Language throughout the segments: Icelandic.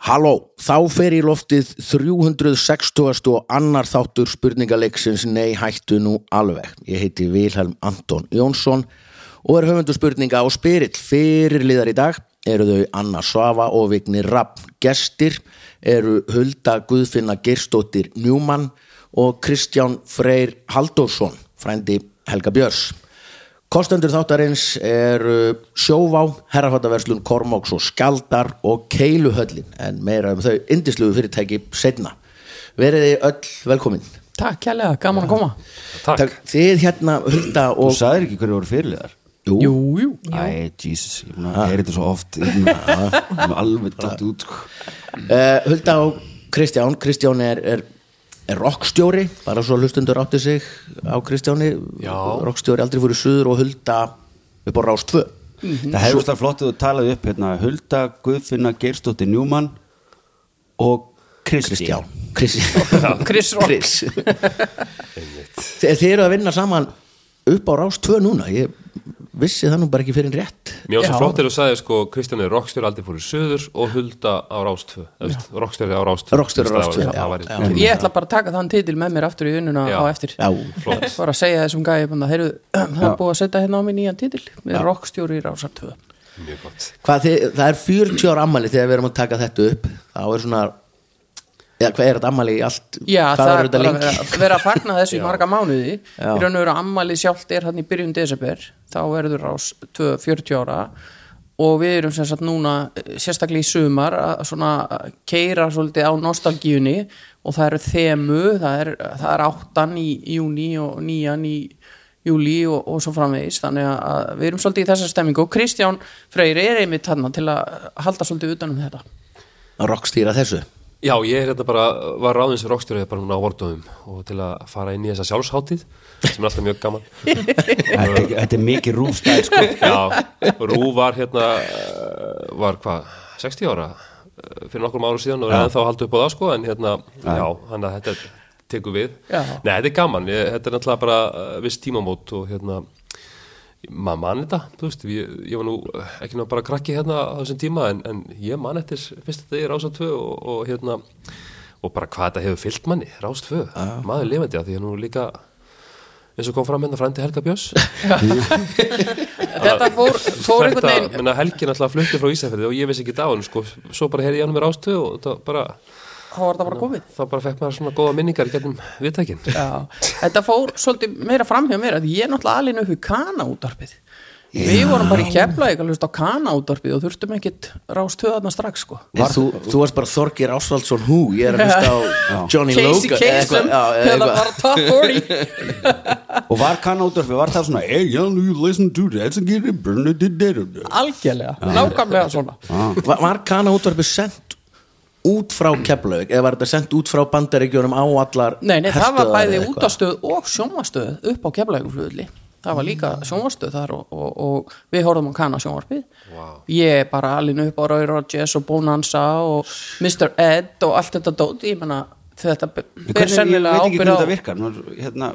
Halló, þá fer í loftið 360. og annar þáttur spurningaleiksins Nei hættu nú alveg. Ég heiti Vilhelm Anton Jónsson og er höfundu spurninga á Spyrill. Fyrirliðar í dag eru þau Anna Svafa og Vigni Rapp. Gestir eru Hulda Guðfinna Gerstóttir Njúmann og Kristján Freyr Halldórsson, frændi Helga Björns. Kostendur þáttarins er sjóvá, herrafattaverslun, kormóks og skaldar og keiluhöllin en meira um þau indisluðu fyrirtæki setna. Veriði öll velkomin. Takk kærlega, gaman að koma Takk, Takk. Þið hérna Hulda Þú og... sagðir ekki hverju voru fyrirliðar Jú, jú Æ, Jesus, ég meina, er þetta svo oft Ég er alveg dætt út sko. Uh, Hulda og Kristján, Kristján er, er, er rockstjóri, bara svo hlustundur átti sig á Kristjáni, Já. rockstjóri aldrei fyrir suður og Hulda upp á rás 2. Mhm. Það hefur það flott að þú talaði upp hérna, Hulda, Guðfinna, Geirstóttir, Njúmann og Kristján Kristján. Kristján. Chris Rock. Þe- Þið eru að vinna saman upp á rás 2 núna, ég vissi það nú bara ekki fyrir en rétt. Mér var Já. svo flott þegar þú sagði sko Kristján er rockstjóri aldrei fór í söður og Hulda á Rástfö Rockstjóri á Rástfö Rockstjóri á Rás 2, já, já. Ég ætla bara að taka þann titil með mér aftur í vinnuna Já. á eftir Já. Flott. Bara að segja þessum gæði Það er búið að setja hérna á mig nýjan titil Með rockstjóri í rásar 2 Mjög gott Hvað, þið, það er 40 ára ammali þegar við erum að taka þetta upp, þá er svona, eða hvað er þetta ammali í allt, Já, hvað það verður er þetta bara lengi? að vera að fagna þessu í marga mánuði Já. Í raun og veru ammali sjálft er hann í byrjun desember Þá verður rás 2, 40 ára Og við erum sem sagt núna eh, sérstaklega í sumar að svona eh, keyra svolítið á nostalgíunni og það eru þemu, það er, það er áttan í júni og nían í júli og, og svo framvegis þannig að- að við erum svolítið í þessa stemmingu og Kristján Freyri er einmitt þarna til að halda svolítið utan um þetta Að rockstýra þessu. Já, ég er hérna bara, var ráðin sem rockstjóri bara núna á Vordóðum og til að fara inn í þessa sjálfshátíð sem er alltaf mjög gaman Þetta er- Þetta er mikið rúfstæð sko. Já, Rú var hérna eh, var hvað, 60 ára eh, fyrir nokkrum árum síðan og er ennþá haldið upp á það sko en hérna, já, hann að þetta tekur við. Já. Nei, þetta er gaman ég, þetta er náttúrulega bara eh, viss tímamót og hérna maður man þetta, þú veist, ég, ég var nú eh, ekki ná bara krakki hérna á þessum tíma en, en ég man eftir fyrst þetta er rása tvö og, og hérna og bara hvað þetta hefur fyllt manni, rás tvö maður er lifandi að því að nú líka eins og kom fram hérna frændi Helga Björns Þetta fór, fór einhvern þetta, veginn menna, helgin alltaf flutti frá Ísafjörði og ég vissi ekki dáin sko. svo bara heyrði ég hann mér ástöð og það bara, þá var þetta bara komið þá bara fekk maður svona góða minningar í gennum viðtækin Já, þetta fór svolítið meira framhjá mér að ég er náttúrulega alveg upp í kanaútarpið Við vorum bara í keflaðið að hlusta á kanaútarpið og þurftum ekkit rást höðarna strax sko Var, þú, þú varst bara Þorgir Ásvaldsson Hú, ég er að hlusta á Johnny Casey Logan eða eitthvað, Kasem, já, eða eða eitthvað. bara top 40 Og var kann útvarfi, var það svona Hey, young, you listen to that and get it burn it, it, it, it." Algjörlega, nákvæmlega svona Ah. Var, var Kana útvarpið sendt út frá Keflavík eða var þetta sendt út frá bandaríkjunum á allar Nei, nei, það var herstöðvar bæði eða eitthvað? útastöð og sjónvastöð upp á keflaðið Það var líka Mm. sjónvastöð þar og, og, og við horfum á kana sjónvarpið wow. Ég er bara alveg upp á Roy Rogers og Bonanza og Mr. Ed og allt þetta dót Ég menna þetta ber En Hvernig, ég veit sennilega ekki ábyrð á hvernig þetta virkar Nú er, hérna,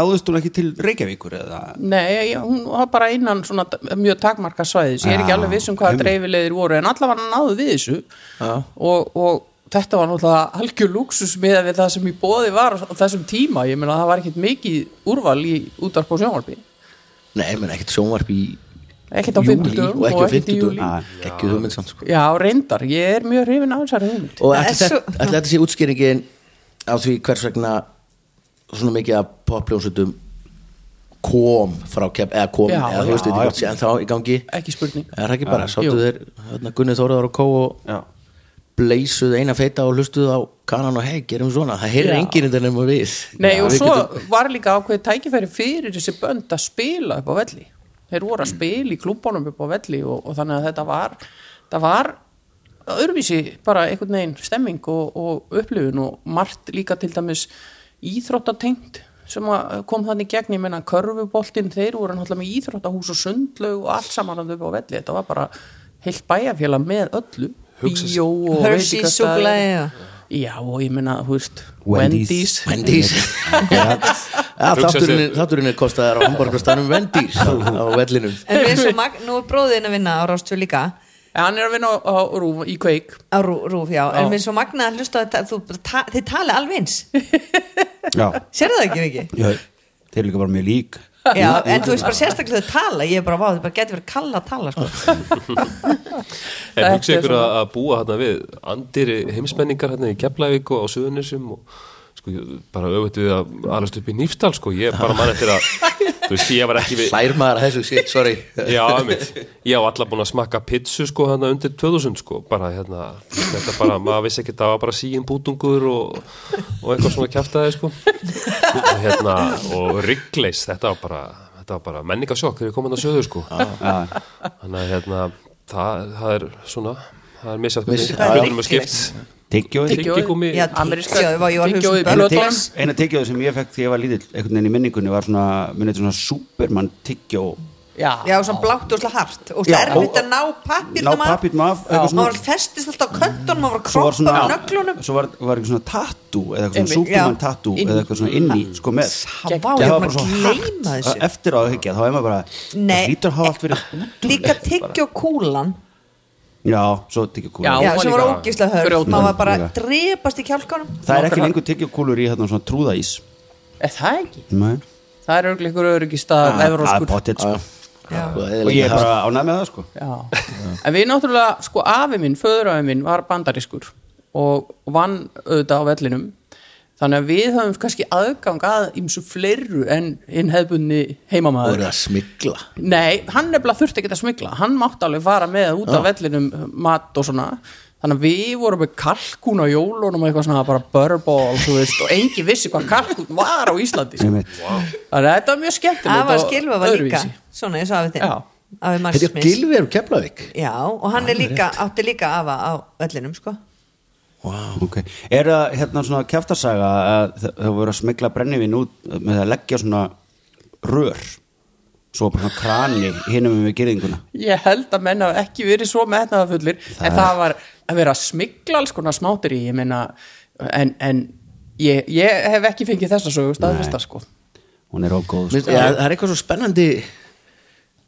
Náðust hún ekki til Reykjavíkur eða Nei, ég- hún var bara innan svona t- mjög takmarka svæðis, ég er ekki Já, alveg viss um hvaða einmitt. dreifilegir voru, en allavega náðu við þessu og, og þetta var náttúrulega algjör luxus með við það sem í bóði var á þessum tíma, ég meina það var ekkit mikið úrval í útvarp og sjónvarpi Nei, ég meina ekkert sjónvarp í ekkit á júlí fimmtudum og ekki á fimmtudum júlí ekki hugmynd samt sko Já, reyndar, ég er mjög hrifin af þessari hugmynd og Það ætli er svo- þetta- ætli þetta sé útskýringin á því hvers vegna svona mikið af popljónsutum kom frá Keflavík eða kom, Já, eða þú veist já, ekki já. hvort sé en þá í gangi ekki spurning er það ekki bara, sáttu Jú. þeir hérna, Gunni Þóraðar og Kó og Já. bleysuð eina feita og hlustuð á kanan og hei, gerum svona, það heyrir Já. enginn þetta nema við Nei, Já, og við svo getum- var líka ákveðið tækifæri fyrir þessi bönd að spila upp á velli þeir voru Mm. að spila í klúbánum upp á velli og, og þannig að þetta var það var öðruvísi bara einhvern veginn stemming og, og upplifun og margt líka til dæmis íþróttatengt sem að kom þannig gegn, ég menna körfuboltinn, þeir voru náttúrulega með íþróttahús og sundlaug og allt saman að upp á velli, þetta var bara heilt bæjarfélag með öllu Hugsa sér. bíó og Hershey veitingastaðir. súkkulaði og- Já, og ég menna, hú veist Wendy's. Wendy's Vendís ja, Hugsa þátturinn, sér- þátturinn er kostaðar á hambúrgarstanum Vendís á, á vellinum En við erum svo magn, nú er bróðin að vinna á Rástfjörn líka en hann er að vinna á, á rúf í kveik á rú, rúf, já, en mér er svo magna að hlusta að þú, ta, þið tali alveg eins já, sérðu það ekki ekki? já þeir eru líka bara mjög lík Já, en þú veist bara sérstaklega þau tala ég er bara, vá, þau bara geti verið kalla að tala sko. En Þetta hugsið er ykkur svona- að að búa hérna við andiri heimsmenningar hérna í Keflavík og á Suðunisum og sko, ég- bara öfut við að alast upp í Nýftal sko, ég bara mann eftir að þú veist, ég var ekki við Lær maður að þessu shit, sorry Já, einmitt. ég á alla búin að smakka pitsu sko hérna undir 2000 sko bara hérna, þetta bara, maður vissi ekki það var bara síin bútungur og, og eitthvað svona kjaftaði sko og hérna, og ryggleis þetta var bara, þetta var bara menningasjokk þegar ég kom hann að söður sko já, þannig að hérna, það, það er svona, það er misjátt Misjafnt. hvernig Það er verðum að skipt Rigglace. tyggjóð Tyggjóið. tyggjigúmi Já, Ameríska- já, ég var- ég var að hugsa um tyggjóið, börn. blöðkolan. eina tyggjóð sem ég fekk þegar ég var lítill einhvern veginn í minningunni var svona minnið svona supermann tyggjó já, svona blátt og slag hart Já, og það og- er erfitt að ná ná pappirnum pappírnum af, eitthvað maður svona. var festist alltaf á köntunum maður var svo var kroppað svona á nöglunum svo var, var eitthvað svona tattoo eða eitthvað svona Einmitt, supermann já. tattoo Inni. eða eitthvað svona inni sko með Há, vá, ég það er var bara bara að svo gleyma þessu hart eftir á að hyggja þá er maður bara Nei. e, það hlýtur að hafa allt verið út úr líka tyggjó kúlan já, svo tyggjokúla Já, já, hún var sem var líka ógislega hörf grjótmörg. maður var bara Líka. drepast í kjálkanum það er ekki Nákvæmlega. lengur tyggjokúlur í hérna svona trúðaís er það ekki? Nei. það er örugglega ykkur öryggistað það er evróskur potið Ah, sko Og og ég er bara ánæg með það sko Já. En við náttúrulega, sko, afi minn, föðurafi minn var bandarískur og vann auðvitað á vellinum. Þannig að við höfum kannski aðgang að ymsu fleiru en hinn hefðbunni heimamaður. voru að smigla Nei, hann nefnilega þurfti ekki að smikla. Hann mátti alveg fara með út af vellinum mat og svona. Þannig að við vorum með kalkún á jólunum og eitthvað svona bara börbál, þú veist, og engi vissi hvað kalkún var á Íslandi. sko. Einmitt. Þannig að þetta var mjög skemmtilegt. afa og skilfa var líka öðruvísi. svona eins og afi þinn Já. afi Þetta er marsmis Gilvi er úr Keflavík já, og hann er líka, átti líka afa á öllinum sko okay. er það hérna svona kjæftasaga að þau þau voru að smigla brennivinn út með að leggja svona rör svo bara svona krani hinum við gerðinguna Ég held að menn hafa ekki verið svo metnaðafullir en það var að vera að smikla alls konar smátir í, ég meina en, en ég, ég hef ekki fengið þessa sögu staðfesta Nei. sko hún er ógóð Mér- sko. Já, Það er eitthvað svo spennandi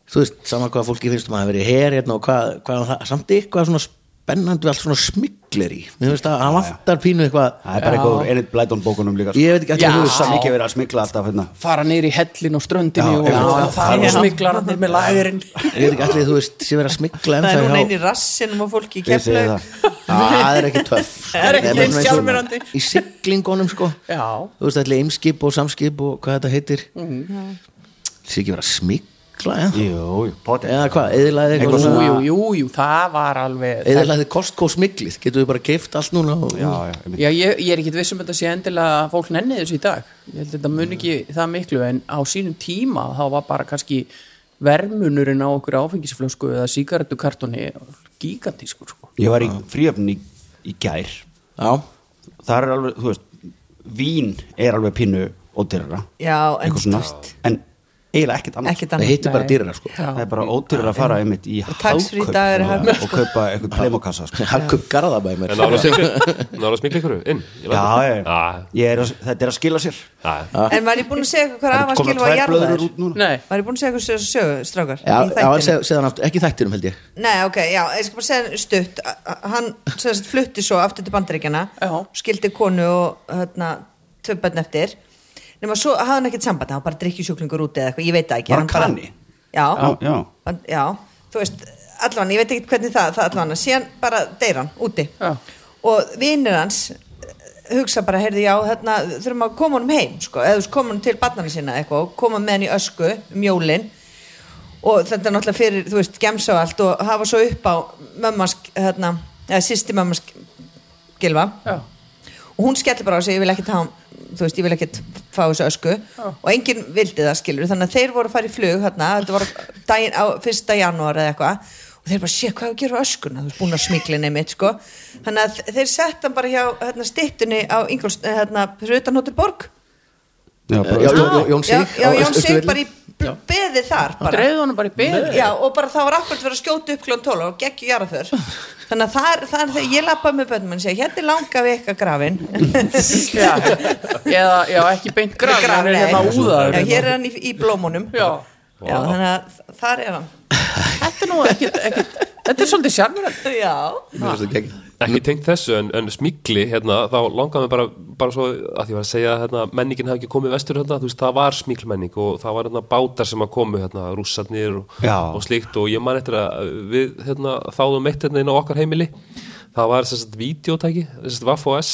þú veist, sama hvað fólki finnst um að hafa verið her hérna og hvað, hvað það, samt eitthvað svona spennandi við allt svona smigler í mér finnst að hann vantar pínu eitthvað það er bara eitthvað úr Enid Blyton bókunum líka ég veit ekki Já. að þú þú veist það mikið verið að smigla alltaf hérna fara neyri í hellin og ströndinu Já, og, já, og já, fara já. og smikla hann með lagurinn ég veit ekki allir þú veist sé verið að smigla það er ennþá hún hjá- einn í rassinum og fólki í Ég segi keflaug það. það er ekki töff Það er ekki bara svona eins eins og sjálfmerandi. í siglingunum sko Já. þú veist allir eimskip og samskip og hvað þetta heitir mm. Mhm. sé ekki verið að smigla já. Jú, jú, potið eða hvað, eðlaði Eitthvað eitthvað Jú, svona jú, jú, jú, það var alveg eðlaði kostkó smiglið, getur við bara keift allt núna og, Já, já, einmitt. Já, ég, ég er ekkit viss um þetta sé endilega að fólk nenni þessu í dag ég held að þetta mun ekki það miklu en á sínum tíma þá var bara kannski vermunurinn á okkur áfengisflösku eða sígarettukartoni gigantískur sko ég var í fríöfni í, í gær já, það er alveg, þú veist vín er alveg pínu ódýrara já, en eitthvað svona, en eiginlega ekkert annars ekkert það annað heitir bara dýrana sko það er bara ódýrara að fara einmitt í Tax-free hagkaup dagar í núna Hagkaup, og kaupa eitthvað plemokassa sko. Hagkup Garðabæ mér en náður að smikla- náður að smikla ykkur inn í já, landið? ég, ég er að, þetta er að skila sér já, já. en var ég búin að segja eitthvað hvað afa skilfa að jarða blöður þér út núna Nei, var ég búin að segja eitthvað sögu- sögu, strákar Já, já, í en þættinum? seg- segðu hann aftur, ekki í þættinum held ég Nei, ok, já, ég skal bara segja stutt A- a- hann sem sagt, flutti svo aftur til bandaríkjana Já. skildi konu og hérna, tvö bönn eftir nema svo hafði hann ekkert samband hann var bara drikkjusjúklingur úti eða eitthvað, ég veit það ekki Var Hann hann krani? Já, Já, já. Hann- já, þú veist, allan, ég veit ekki hvernig það, það allan, síðan bara deyr hann úti Já. og vinnir hans eh, hugsa bara, heyrði, já, þarna þurfum að koma honum heim, sko, eða þú veist, koma honum til barnana sinna eitthvað, og koma með hann í ösku mjólin og þetta er náttúrulega fyrir, þú veist, gems á allt og hafa svo upp á mömmask, hérna, eða sýsti mömmask gilva já, og hún skellir bara á sig, ég vil ekkert hafa þú veist, ég vil ekkert fá þessu ösku og enginn vildi það skilur, þannig að þeir voru að fara í flug hérna, þetta var daginn, á fyrsta janúar eða eitthvað og þeir bara, sé, hvað er að gera á öskuna, þú veist, búin að smiklinni mitt, sko, þannig að þeir sett hann bara hjá, hérna, stittunni á Ingolst, hérna, fyrir utan Hotel Borg Já, bara- Já, Jón- Jón- Jón Já, Sig á já, Jón Austur- Sig Austurvelli. bara í beði þar bara dreifðu honum bara í beðið Já, og bara það var akkurat verið að skjóta upp klón 12 og geggju jarðaför þannig að það er, það er þegar ég lappaði með bönnum og segja, hérna er langa við eitthvað grafin já, eða já, ekki beint graf, Graf, hann er nei. hérna úðaður Já, hér er hann í, í blómunum Já, já, þannig að þar er hann Þetta er nú ekkit, ekkit Þetta er svolítið sjarmur já, Mér finnst það gegn. ekki tengt þessu en, en smikli hérna, þá langaði mig bara, bara svo að ég var að segja að hérna, menningin hafði ekki komið vestur hérna, þú veist, það var smiklmenning og það var hérna, bátar sem að komu, hérna, rússarnir og, Já. og slíkt og ég man eftir að við hérna, þáðum eitt hérna inn á okkar heimili það var þess að videótæki þess að Vaff OS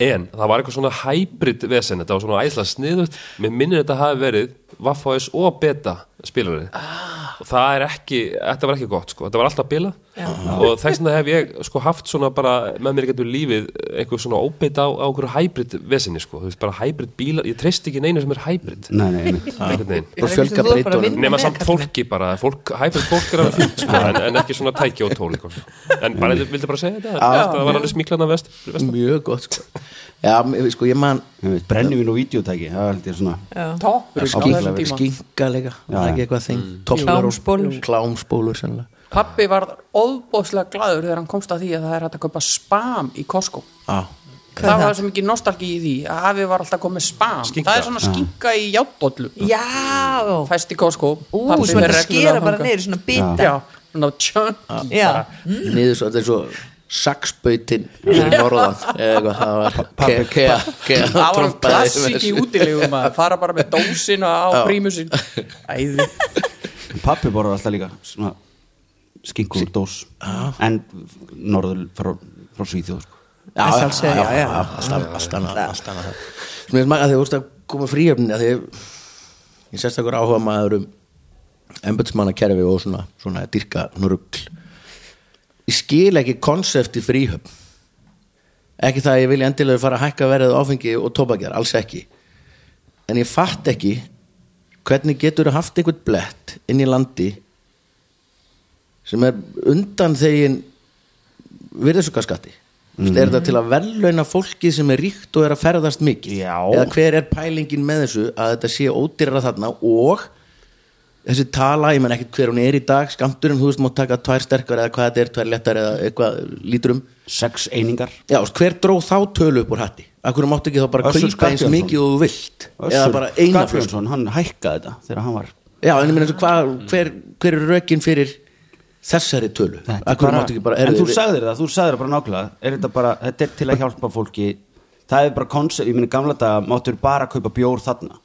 en það var eitthvað svona hybrid vesen þetta var svona æsla sniðut, mér minnir þetta hafi verið Vaff OS og beta spilari ah. og það er ekki þetta var ekki gott sko, þetta var alltaf bila og þess vegna hef ég sko haft svona bara með mér getur lífið eitthvað svona óbeta á, á okkur hybrid veseni sko, þú veist bara hybrid bílar, ég treyst ekki neinu sem er hybrid Nei, nei, nei einhvern veginn Bara Ég veit ekki fjölga sem þú er bara að breytunum. vinna nema með, samt kallinn. fólki bara fólk, hybrid fólk er alveg fínt sko, en, en ekki svona tæki og tól eitthvað. en bara, vildi bara segja þetta það var alveg smiklana vest, vest. Mjög gott sko. Já, mér- sko, ég man Brennivín og vídeotæki, það er held ég svona Toppur á þessum skinka, tíma skinka líka það er ekki eitthvað þing, topplar og- Klámspólur. klámspólur sennilega. Pappi var óbóðslega gladur þegar hann komst að því að það er hægt að kaupa spam í Costco Á, Það var svo mikið nostalgi í því að afi var alltaf komið spam Skinka. Það er svona skinka í játdollu já Fæst í Costco ú, Pabbi svona fer að reglulega skera bara þangað. neyri svona bita Já, svona tjöngi já, Mm. niður svo, þetta er svo saksbautin fyrir norðan eða eitthvað, það var kea, kea, Það var hann klassik í útilegum að fara bara með dósina á prímusin Æði Pappi borðar alltaf líka svona skinkur og dós En norður frá, frá Svíþjóð sko. já, Að já, sjálfsögðu, já, já, já. já, allt annað, allt annað, allt annað sem ég smakka þegar þú veist að koma fríöfni að því ég ég sérstakur áhuga maður um embudsmannakerfi og svona, svona dyrka rugl ég skil ekki konsepti fríhöfn ekki það að ég vilja endilega fara að hækka verið áfengi og tóbakjar, alls ekki en ég fatt ekki hvernig getur þú haft einhvern blett inn í landi sem er undan þegin virðisugaskatti mm. er þetta til að verðlauna fólki sem er ríkt og er að ferðast mikið Já. eða hver er pælingin með þessu að þetta sé ódýrara þarna og þessi tala, ég menn ekkert hver hún er í dag skamturinn, þú veist, mátt taka tvær sterkar eða hvað þetta er, tvær lettar eða eitthvað lítrum Sex einingar Já, veist, hver dró þá tölu upp úr hatti? Akkur máttu ekki þá bara Össur kaupa eins Skarphéðinsson. mikið og þú vilt eða Össur bara eina flösku Skarpjónsson, hann hækkaði þetta þegar hann var Já, en ég meina eins og hvað, hver, hver er rökin fyrir þessari tölu? Þetta er Akkur bara- máttu ekki bara En erðu þú sagðir það, þú sagðir það bara nákvæmlega er þetta, bara, þetta er til að hjálpa fólki Það er bara koncept, ég minni gamla daga máttur bara kaupa bjór þarna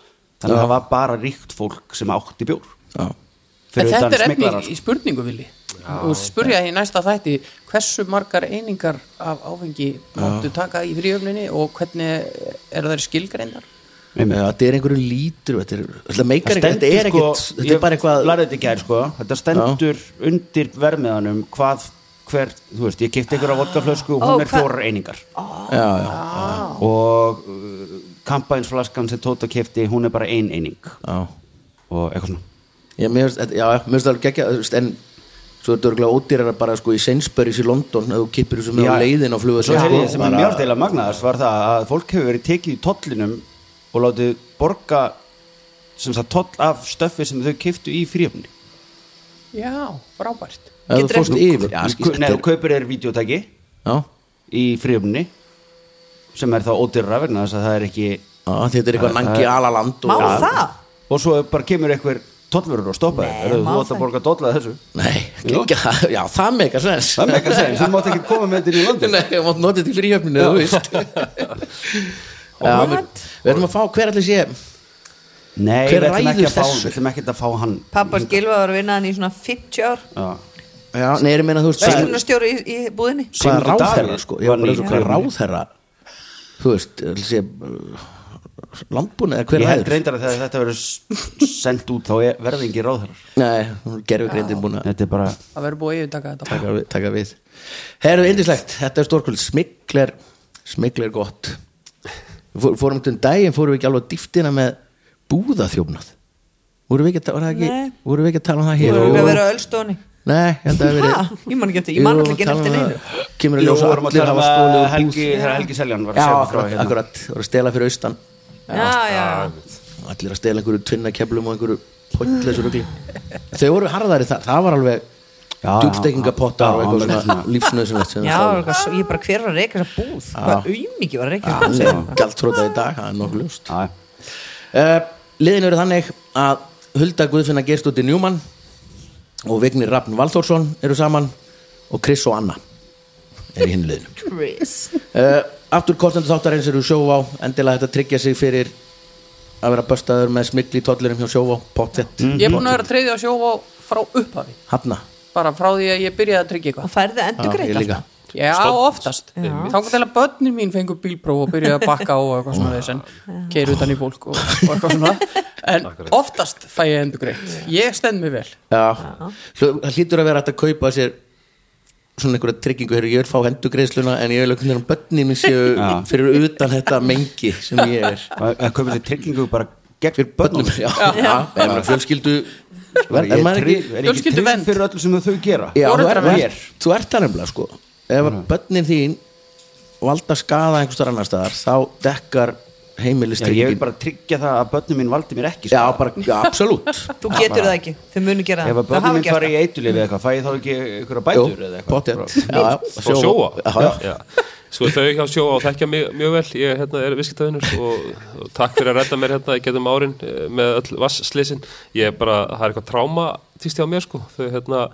Þannig að það var bara ríkt fólk sem átti bjór Já, En Fyrir þetta utan er efni smeglarar í spurningu vilji og spurja í næsta þætti hversu margar einingar af áfengi máttu taka í fríöfninni og hvernig eru þær skilgreindar Einmitt. Já, þetta er einhverjum lítur þetta er, þetta meikar ekki, Það þetta er stendur, ekkert sko, þetta er ég bara eitthvað lærði þetta í gær, sko. þetta stendur undir vermiðanum hvað hver, þú veist, ég kipti ykkur á vodkaflösku og hún Ó, er hvað- fjórar einingar já, já, og uh, kampænsflaskan sem Tóta kipti, hún er bara ein eining já. og eitthvað svona Ég, mér, finnst- þetta- já, já, mér finnst það alveg geggja þú veist, en svo er þetta örgulega ódýrara bara sko í Sainsbury's í London ef þú kippir þessu með Hérna á Já. leiðin á sko, flugvöld Svo heyrði ég sem er mjög deila magnaðast var það að fólk hefur verið tekið í tollinum og látið borga sem sagt toll af stöffi sem þau kiptu í fríöfni Já, frábært ef þú Getur fórst ekki- yfir já, skýrt, Nei, þú þetta er- kaupir þér videotæki já, í fríöfni sem er þá ódýrra vegna þess að það er ekki já, þetta er eitthvað nangi alaland má og það og svo bara kemur einhver tollverur og stoppa Nei, þér Heyrðu, má þú átt það að borga dollað þessu nei, geggja það, já, það meikar sens það er ekki að segja, þú mátt ekki koma með þetta inn í landin Nei, ég mátt nota þetta í fríhjöfninu, þú veist Já, What? Við ætlum að fá hver allir sé Nei, Hver við ætlum ræður ekki að fá- þessu? við ætlum ekki að fá hann pappas Gilva var að vinna hann í svona 50 ár Já. Já, nei, ég meina, þú veist hvað- verslunarstjóri í, í búðinni Hvað er Sigmundur ráðherra, Davíð sko Ég var bara vann í eins og hvað er Kringlunni. ráðherra Þú veist, allir sé Landbúna eða hver Ég held ræður reyndar að þegar þetta verður sendt út þá er- verða ekki ráðherrar Nei, gerfi greindin búin að Þetta er bara Það verður búið að yfirtaka þetta taka við- taka við Herðu, indislegt, þetta er stórkvöld Smikler, smikler gott Fór- Fórum til daginn, fórum við ekki alveg á dýftina með búðaþjófnað Vorum við ekki, að- var það Nei. ekki, vorum við ekki að tala um það hér þú Jú. verður að vera á ölstóni Nei, ég held að það hafi Ha? verið Ég man ekki eftir- ég man Jú, alltaf ekki tala eftir um neinu. það. Kemur að Jú, ljósa vorum að allir tala um hafa að stólið úr Helgi, búð þegar Helgi Seljan var Já, að segja frá akkurat, hérna akkurat, voru að stela fyrir austan já, já, Allir að stela einhverju tvinnakeflum og einhverju pointleysu rugli Þau voru harðari þar, það var alveg Já, já, já, djúbstekingapottar og já, eitthvað já, svona já. lífsnöðsynlegt sem þau já, já stálu. hvað, svo- ég bara hver var að reyka þessa búð hvað aumingi var að reyka þessa búð Hann er gjaldþróta í dag, það er nokkuð ljóst Já, uh, Liðin eru Eh, þannig að Hulda Guðfinna Gerstótti Njúmann og Vignir Rafn Valþórsson eru saman og Chris og Anna er í hinliðinu Chris uh, Aftur kostendur þáttarins eru sjóvá endilega þetta tryggja sig fyrir að vera böstaður með smikli í tollurum hjá sjóvá pottet, mm. Ég er búin að vera treyðið á sjóvá frá upphafi hafna bara frá því að ég byrjaði að tryggja eitthvað og færði endur Já, ég greið líka. alltaf Já, oftast Já. Þá kom til að börnin mín fengur bílpróf og byrjuði að bakka og eitthvað svona þess en keir utan í fólk og, og eitthvað svona en oftast fæ ég endur greitt Ég stend mig vel Já, Svo það hlýtur að vera hægt að kaupa sér svona einhverja tryggingu hér, ég vil fá hendugreiðsluna en ég vil einhvern veginn að börnin minn séu Já. fyrir utan þetta mengi sem ég er að að kaupa þér tryggingu bara gegn fyrir börnum já, já. já. já. fjölskyldu Bara, er ég maður tryg- ekki er ekki Fjölskyldu trygg vernd. fyrir öllu sem þau gera já, þú, Foreldrar er, vernd. er, þú ert það nefnilega sko ef að börnin þín valda skada einhvers þar annar staðar þá dekkar Já, ég vil heimilistryggingin bara tryggja það að börnum mín valdi mér ekki já, skaða. bara, já, absolutt þú getur það ekki, þau munu gera ef það að þau börnum hafa mín gert fari það í eitulif eða eitthvað fæ ég þá ekki einhverja Jú, bætur eða eitthvað pottet Bara- Já, já, og sjóa Já, já. Já. Sko þau hjá sjóa þekkja mig mjög vel ég hérna, er viskitavinnur og, og takk fyrir að redda mér hérna í getum árin eh, með öll vasslisin ég er bara, það er eitthvað tráma týsti á mér sko þau hérna,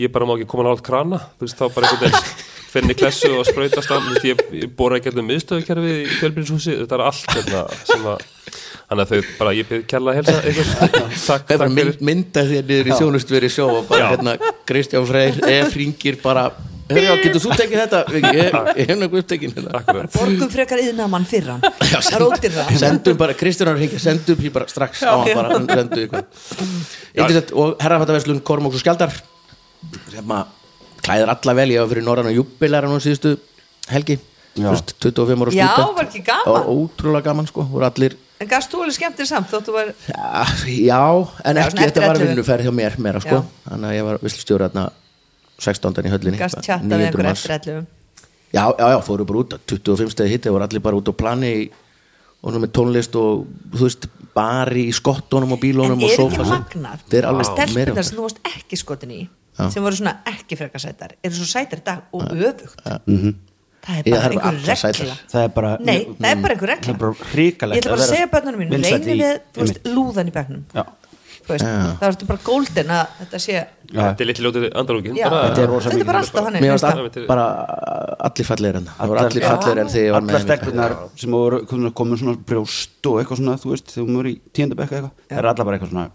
ég bara má ekki koma nátt krana þú veist þá bara einhvern veginn finn í klessu og sprautast að ég, ég bóra ekki allir miðstöðukerfi í fjölbyrnshúsi þetta er allt hérna sem að þannig að þau bara, ég byrð kjalla að helsa ykkur takk, Það er bara takk fyrir mynd, mynda þér niður í þjónust verið sjó og bara Já. hérna Kristján Freyr ef ringir bara Hörjá, getur þú tekið þetta? Ég, ég, ég hef nokkuð upptekinn hérna takk fyrir borgum frekar yðnamann fyrir hann það rótir það Sendum um bara, Kristján er hringið, sendum því bara strax á hann bara, sendu ykkur Ítlýsett, og herrafættaverslun Kormóks og Skjaldar sem að klæðir alla vel, ég var fyrir norrann og júbilæra nú síðustu helgi Já. Fyrst 25 ára Já, stúdent. var ekki gaman? Það var Ótrúlega gaman sko, voru allir en gafst þú alveg skemmtir samt þóttu var Já, já, en Já, ekki, svona eftir þetta var 11. vinnuferð hjá mér meira sko, Já. þannig að ég var vislustjóri þarna 16. í höllinni gafst bara tjatta við 900 einhver manns. eftir ellum Já, já, já, fóru bara út að 25 stegi hitti, voru allir bara út á plani í- og nú með tónlist og þú veist, bari í skottunum og en bílunum er og ekki sófa magnar Þetta er alveg meira stelpunar okkar. sem þú varst ekki skotin í Já. sem voru svona ekki frekar sætar eru svo sætar í dag og öfugt það er Já, bara það eru einhver allar sætar. regla það er bara Nei, það er bara einhver regla það er bara Ég hrikalegt ætla bara að segja börnunum mínu, vinsæll reynið í- við þú veist, einmitt. lúðan í bekknum Já. Þú veist, þá ertu bara golden að þetta sé Já. þetta er litli ljótið andalókin Já, þetta er rosa þetta er mikið. bara alltaf þannig Mér veist varst það. all, bara allir fallegir en það voru Allar- allir Já. fallegir en þegar ég var allar með henni. stelpunar sem voru komin- komin svona brjóst og eitthvað svona þú veist þegar maður er í tíundabekka eitthvað það er allar bara eitthvað svona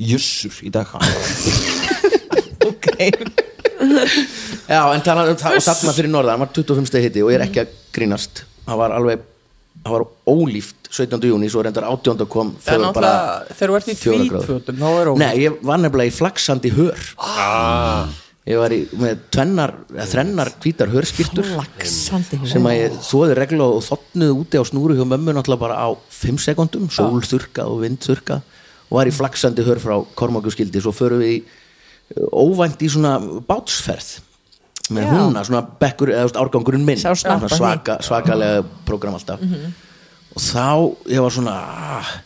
jussur í dag Ok. Já, en talað um það og þarna fyrir norðan var 25 stegi hitti og ég er ekki að grínast það var alveg, það var ólíft 17. júni, svo reyndar 18. kom Það er fórum bara náttúrulega, þegar þú ert í fjórar gráður. tvítfötum þá er óvægt Nei, ég var nefnilega í flaksandi hör Ég var í, með tvennar, eða þrennar hvítar hörskýrtur Flaksandi sem að ég þóði regla og þotnuði úti á snúru hjá mömmu náttúrulega bara á 5 sekundum, sól þurka og vind þurka og var í flaksandi hör frá Kormákuskildi, svo förum við í, eh, óvænt í svona bátsferð með Já. húnna, svona bekkur eða þú veist, árgangurinn minn, Sá snappa Svona svaka, svakalega program alltaf Mhm. og þá ég var svona ah,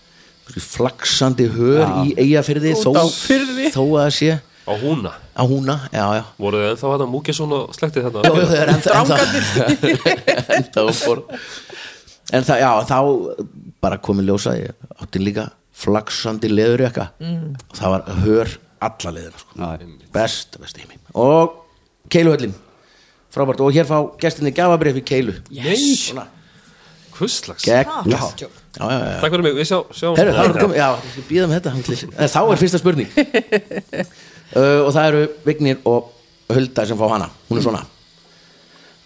flaksandi hör í eigafyrði Út þó, á firði. þó að það sé á húna á húna, já, já voru þið ennþá þetta Múkesson og slektið þetta Jó, þau eru ennþá- ennþá- ennþá um borð. En það, já, þá bara komið ljósa ég átti líka flaksandi leður ekka og það var hör alla leðina sko. best, best heimi og keiluhöllin, frábært og hér fá gestinni gafabrif í keilu Yes. Svona. Hvurslags? gegn Ah, já, joke. já, já, já. Takk fyrir mig, við sjá, sjáum Herru, þá er komið, já, við býðum þetta hanglir. En þá er fyrsta spurning uh, og það eru Vignir og Hulda sem fá hana, hún er svona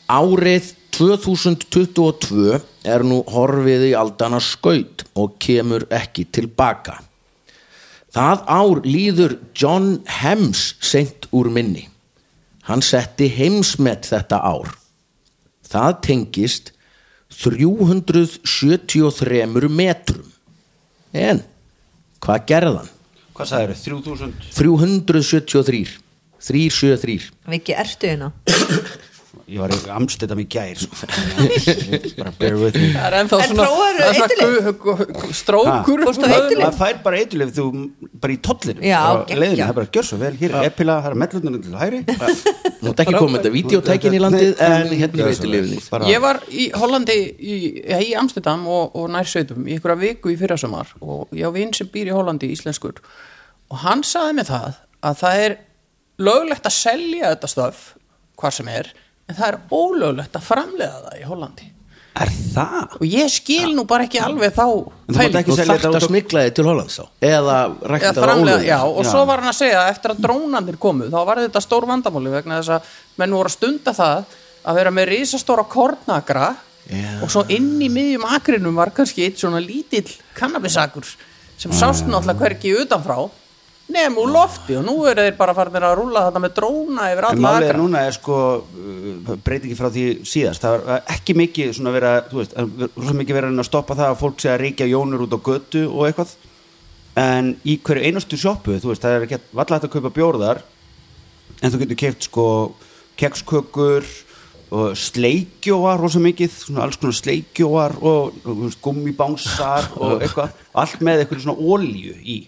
Árið 2022 er nú horfið í aldana skaut og kemur ekki tilbaka Það ár líður John Hems seint úr minni Hann setti heimsmet þetta ár Það tengist 373 metrum En, hvað gerði hann? hvað sagðið eru, 3000 373 373 Viki, ertu hérna? ég var í amstættam í gær sko. bara bear with me Það er ennþá En svona, prófaðirðu það er eiturlyf? gu- gu- gu- strókur Fórstu á eiturlyf? maður fær bara eiturlif þú bara í tollir Já, leiðinu, geggjað. það er bara gjör svo vel hér er epila, það er mellunum til hæri Nú er ekki komið þetta videotækin í landið en hérna er Gjörðu svo vel. veitilifni Bara- Ég var í Hollandi í, ja, í Amsterdam og, og nær sveitum í einhverja viku í fyrrasumar og ég á vinn sem býr í Hollandi íslenskur og hann saði mér það að það er löglegt að selja þetta stöf hvað sem er en það er ólöglegt að framlega það í Hollandi er það? og ég skil nú bara ekki alveg þá En þú mátt pælingu. ekki Þú selja þarft þetta út að á- smikla þið til Hollands þá eða rækta Eða það framlega, já, ólöglega og Já. svo var hann að segja að eftir að drónandir komu þá var þetta stór vandamáli vegna þess að menn voru að stunda það að vera með risastóra kornagra Já. og svo inn í miðjum akrinum var kannski eitt svona lítill kannabisakur sem sást náttúrulega hvergi utanfrá nefn úr lofti og nú eru þeir bara farinir að rúlla þetta með dróna yfir En alla málið er akra núna er sko uh, breytingi frá því síðast það var uh, ekki mikið svona verið að þú veist, rosa mikið verið að reyna að stoppa það að fólk sé að reykja jónur út á götu og eitthvað en í hverju einustu sjoppu þú veist, það er ekki valla hægt að kaupa bjórðar en þú getur keft sko kekskökur og sleikjóar rosa mikið svona alls konar sleikjóar og þú veist, gummibánsar og eitthvað allt með eitthvað svona olíu í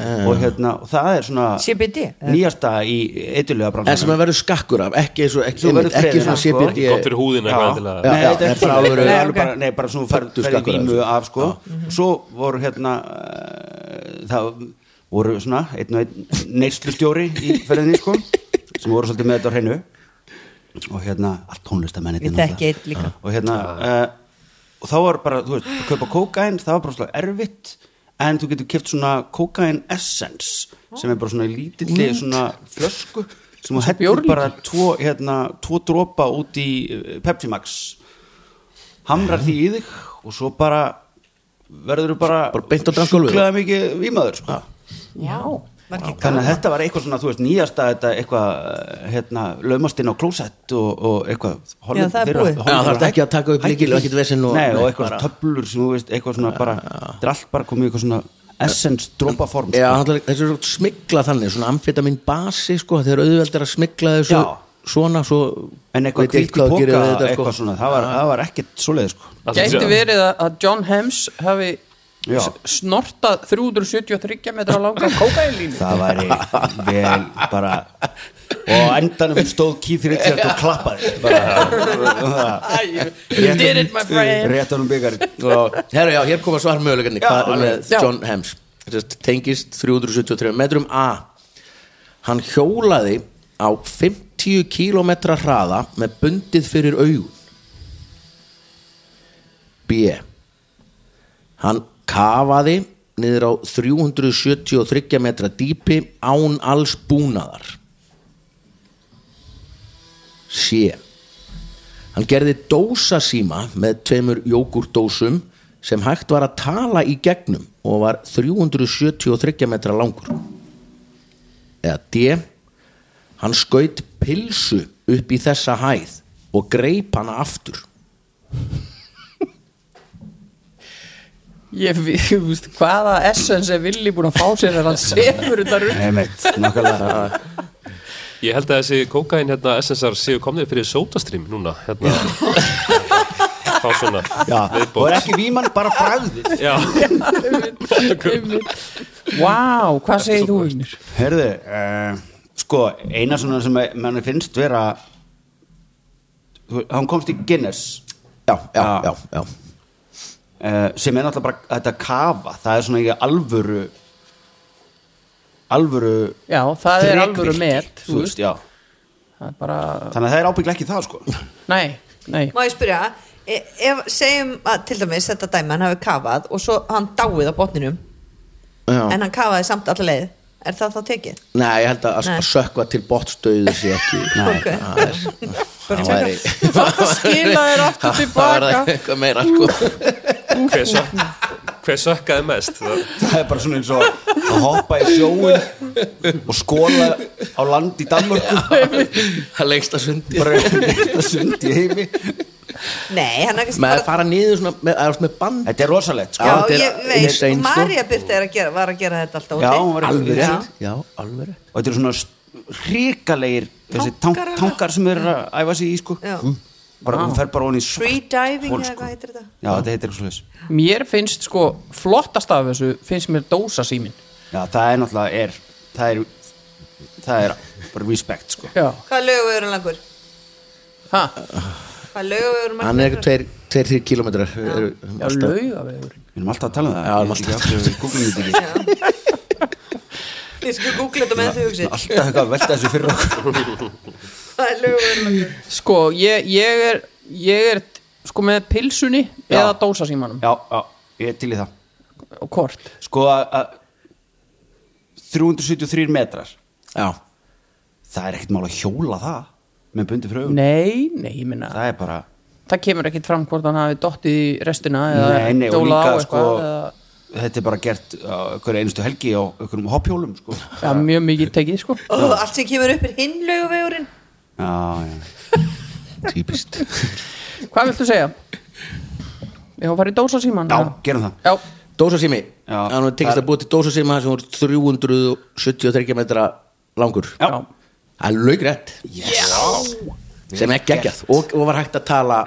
Eh. og hérna, og það er svona CBD, eða? nýjasta í eitthulega en sem að verður skakkur af, ekki, svo, ekki, Þú verður einmitt, ekki friðina, svona sko. CBD Gott fyrir húðina Já. eitthvað endilega. Já, Nei, já, nei, þetta er bara ekki- alvöru- Nei, ok. alveg bara- Nei, bara svona Þú færðu skakkur vímu þessu. af sko Svo voru hérna eh, Það voru svona einn og einn neyslustjóri í ferðinni sko sem voru svolítið með þetta á hreinu og hérna allt tónlistamenn Ég þekki einn líka. og hérna uh, og þá var bara, þú veist, að kaupa kókain það var bara svona erfitt en þú getur kipt svona kókain essence sem er bara svona í lítilli svona flösku sem þú hettir bjórlíki. bara tvo, hérna, tvo dropa út í eh, Pepsi Max hamrar því í þig og svo bara verður þú bara, Bara beint á dansgólfið. sjúklega mikið vímaður sko. Já, þannig að þetta var eitthvað svona, þú veist, nýjasta þetta eitthvað, hérna, laumast inn á klósett og, og eitthvað Já, það er búið. Já, það þarf ekki að taka upp lykil og ekkert vesen og- Nei, og Nei, eitthvað bara- töflur sem þú veist, eitthvað svona bara þetta er allt bara komið í eitthvað svona essence dropaform Já, sko. hann ætlar- þessu er svona smikla þannig, svona amfetamin basi sko, þegar auðveld er að smikla þessu Já. svona, svo en eitthvað veit ég kvíti þú gerir póka, við þetta, sko. eitthvað svona það var, það var ekkert svoleið sko. Alltaf gæti sé- verið að- að John Hems hafi Já. s- snortað 373 metra langa kókailínu það væri vel bara og á endanum stóð Keith Richards og klappaði bara You did it my friend réttanum byggar og, herra, já, hér koma svarmögulegarnir Já, hvað er alveg. með Já. John Hems Sest, tengist 373 metrum A hann hjólaði á 50 km hraða með bundið fyrir augun B hann kafaði niður á 373 metra dýpi án alls búnaðar C Hann gerði dósasíma með tveimur jógurdósum sem hægt var að tala í gegnum og var 373 metra langur. Eða D. Hann skaut pilsu upp í þessa hæð og greip hana aftur. Ég vi- þú veist hvaða essence er villi búin að fá sér þegar hann sefur þetta runn einmitt, nákvæmlega Ég held að þessi kókain hérna SSR séu komnir fyrir sótastrým núna hérna Fá svona Já, og viðbót er ekki víman bara bragðið Já, Vá, hvað segir þú Ugnir? Herðu, uh, sko, eina svona sem að manni finnst vera þú- hann komst í Guinness Já, já, Já. já, já. uh, sem er náttúrulega bara þetta kafa, það er svona ekki alvöru alvöru Já, það er þrekvirki, alvöru met þú veist, já Það er bara, Þannig að það er ábygglega ekki það sko nei, nei Má ég spyrja, e- ef segjum að til dæmis þetta dæmi hann hafi kafað og svo hann dáið á botninum já. en hann kafaði samt alla leið er það þá tekið? Nei, ég held að að Nei. sökva til bottstöðu sé ekki. Nei, Ok. það er... Það væri... Bara skila þér aftur Það- Það tilbaka. var eitthvað meira, sko. hver, sök, hver sökkaði mest Það- Það er bara svona eins og að hoppa í sjóin og skóla á land í Danmörku Það lengst að sundi. bara þetta sund í heimi Nei, hann er kannski Með að bara fara niður svona, með, eða svona með band Þetta er rosalegt sko Já, þetta er ég veit, insane, sko. Marja Byrta er að gera, var að gera þetta alltaf Já, úti. hún var Alveg Já. rétt Já, alveg rétt og þetta eru svona hrikalegir þessi Tankar tank, eða? tankar sem eru að æfa sig í sko Já. bara hún fer bara ofan í svart free diving hol, eða sko. hvað heitir þetta já þetta heitir eitthvað svoleiðis mér finnst sko flottast af þessu finnst mér dósasímin já það er náttúrulega er, það er það er bara respect sko já, hvað lögum við erum langur ha, hvað lögum við erum hann er eitthvað 2-3 kilometrar eru já, alltaf- laugavegur við erum alltaf að tala um það Já, við erum alltaf að að tala um það ég skal googla þetta með þau hugsið alltaf eitthvað að velta þessu fyrir okkur hvað lögum við erum langur sko ég, ég er ég er sko með pilsunni Já. eða dósasímanum já já ég er til í það og kort sko að að 373 metrar já, það er ekkert mál að hjóla það með bundi fröðum nei, nei, ég minna það er bara það kemur ekkit fram hvort hann hafi dottið í restina eða nei, nei, og dólað á líka eitthvað sko eða, þetta er bara gert á hverju einustu helgi á einhverjum hoppjólum sko ja, mjög mikið tekið sko og allt sem kemur upp er hinn lögumvegurinn já, já. típist hvað viltu segja? ég hef farið dósasíman já, eða? gerum það já, Dósasími, Já. hann hefur tekist að búa til dósasíma sem voru 373 metra langur já, já. Það er laugrætt sem er geggjað og, og var hægt að tala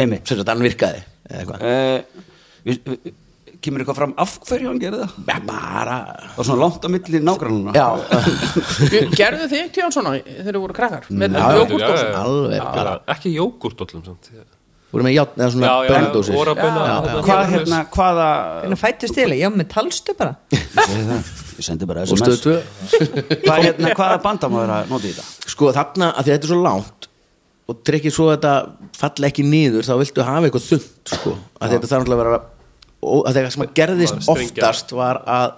einmitt sem sagt hann virkaði eða eitthvað. uh, við, við, kemur eitthvað fram af hverju hann gerir það Já, bara það er svona langt á milli nágrannuna Já, Ge- Gerðu þið einhvern tíðan svona þegar þið voru krakkar? Með Já, jógúrtdósum? alveg bara ekki jógurtóllum samt já, voru með játn eða já, svona já, brenndósir orabeina, Já, hérna, hvað hérna, hérna, hvaða en það fættist til, já með talstu bara ég segi það, ég sendi bara og stöðu sms tvö hvað hérna, hvaða bandamöður að nota í þetta Sko þarna, að því þetta er svo langt og trekkið svo að þetta falli ekki niður þá viltu hafa eitthvað þund sko. að þetta þarf náttúrulega að vera og að það sem að gerðist Bara strengja. oftast var að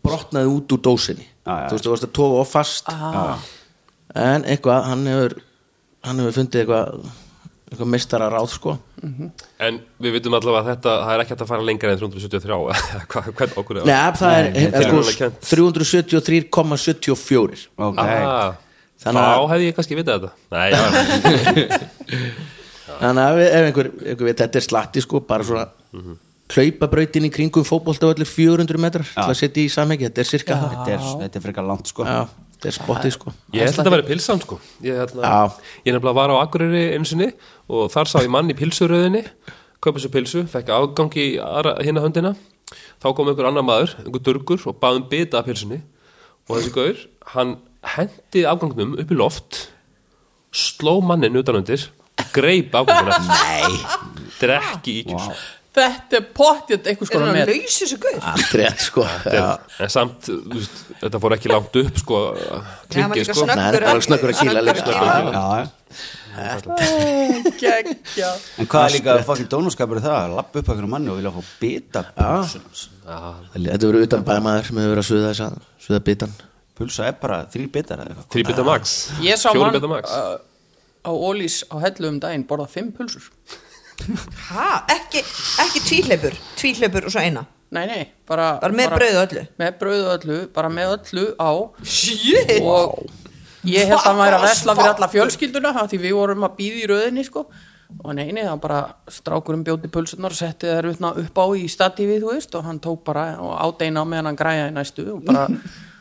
brotnaði út úr dósinni Já, já. þú veist, þú varst að toga of fast en eitthvað, hann hefur hann hefur fundið eitthvað eitthvað mistara ráð sko En við vitum allavega að þetta, það er ekki hægt að fara lengra en 373 eða hvað- Hvernig okkur er Nei, það er, þetta er er alveg sko, kennt. 373,74 ok, ah, Þannig að- Þá hefði ég kannski vitað þetta Nei, já, þannig að ef- ef einhver, einhver veit, þetta er slatti sko, bara svona mm -hmm. hlaupabrautin í kringum fótboltavöldur 400 metrar til að setja í samhengi, þetta er cirka það þetta er, þetta er frekar langt sko já, þetta er spottið sko Ég held að þetta væri pilsan sko Ég, hérna, Já. ég nefnilega var á Akureyri einu sinni og þar sá ég mann í pilsuröðinni kaupa sér pilsu, fekk afgang í aðra- hina höndina þá kom einhver annar maður, einhver durgur og bað um bita af pilsunni og þessi gaur, hann hendi afgangnum upp í loft sló mannin utanundir greip afgangina Nei Þetta er ekki íkjur wow. Þetta er pottið einhvers er konar hann með að lausa þessu guð aldrei að sko já. en samt, þú veist, þetta fór ekki langt upp sko, hann var klingið líka sko Nei, þetta er alveg snöggur að kýla líka, sko. kýla. já, geggja en hvað er líka fokkin dónaskapur er það að lappa upp að hverju manni og vilja fá bita pulsunars þetta verður utan bæmaður sem hefur verið að suða þess að suða bitan pulsa er bara þrý bitar eða eitthvað 3 beta max, Ég sá 4 mann beta max uh, á Ólís á hellu um daginn borða fimm pulsur ha, ekki, ekki tvíhleipur tvíhleipur og svo eina Nei, nei, bara Bara með brauði og öllu? Með brauð og öllu, bara með öllu á shit og ég held að hann væri að vesla fyrir alla fjölskylduna af því við vorum að býða í röðinni sko og neini, nei, hann bara strákurinn bjóti pulsunar og setti þær utna upp á í statífið, þú veist, og hann tók bara og ádeina á meðan hann græjaði næstu og bara,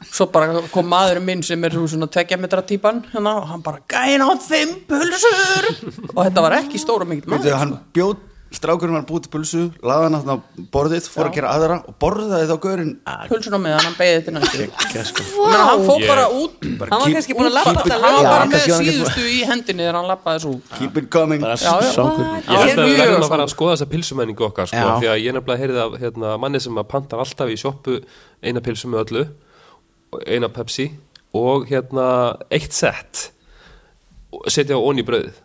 svo bara kom maðurinn minn sem er svona tvekja metra típan hérna, og hann bara, gæin á fimm pulsur og þetta var ekki stóra mikið Veitu, maður hann bjóð, strákurinn var búið til pulsu laði hann á borðið, fór að gera aðra og borðaði þá gaurinn pulsuna meðan hann beigði til næstu Vá. Menna, hann fór bara út hann var kannski búin að lappa hann þetta var sko. Já, bara með kannski var hann ekki síðustu í hendinni þegar hann lappaði þessu út keep it coming bara Já, já. sákur Ég held að við Mjög verðum að svona. fara að skoða þessa pilsumenningu okkar sko, Já. því að ég nefnilega heyrði af hérna, manni sem að pantar alltaf í sjoppu eina pilsu með öllu og eina pepsi og hérna eitt sett og setja ón í brauðið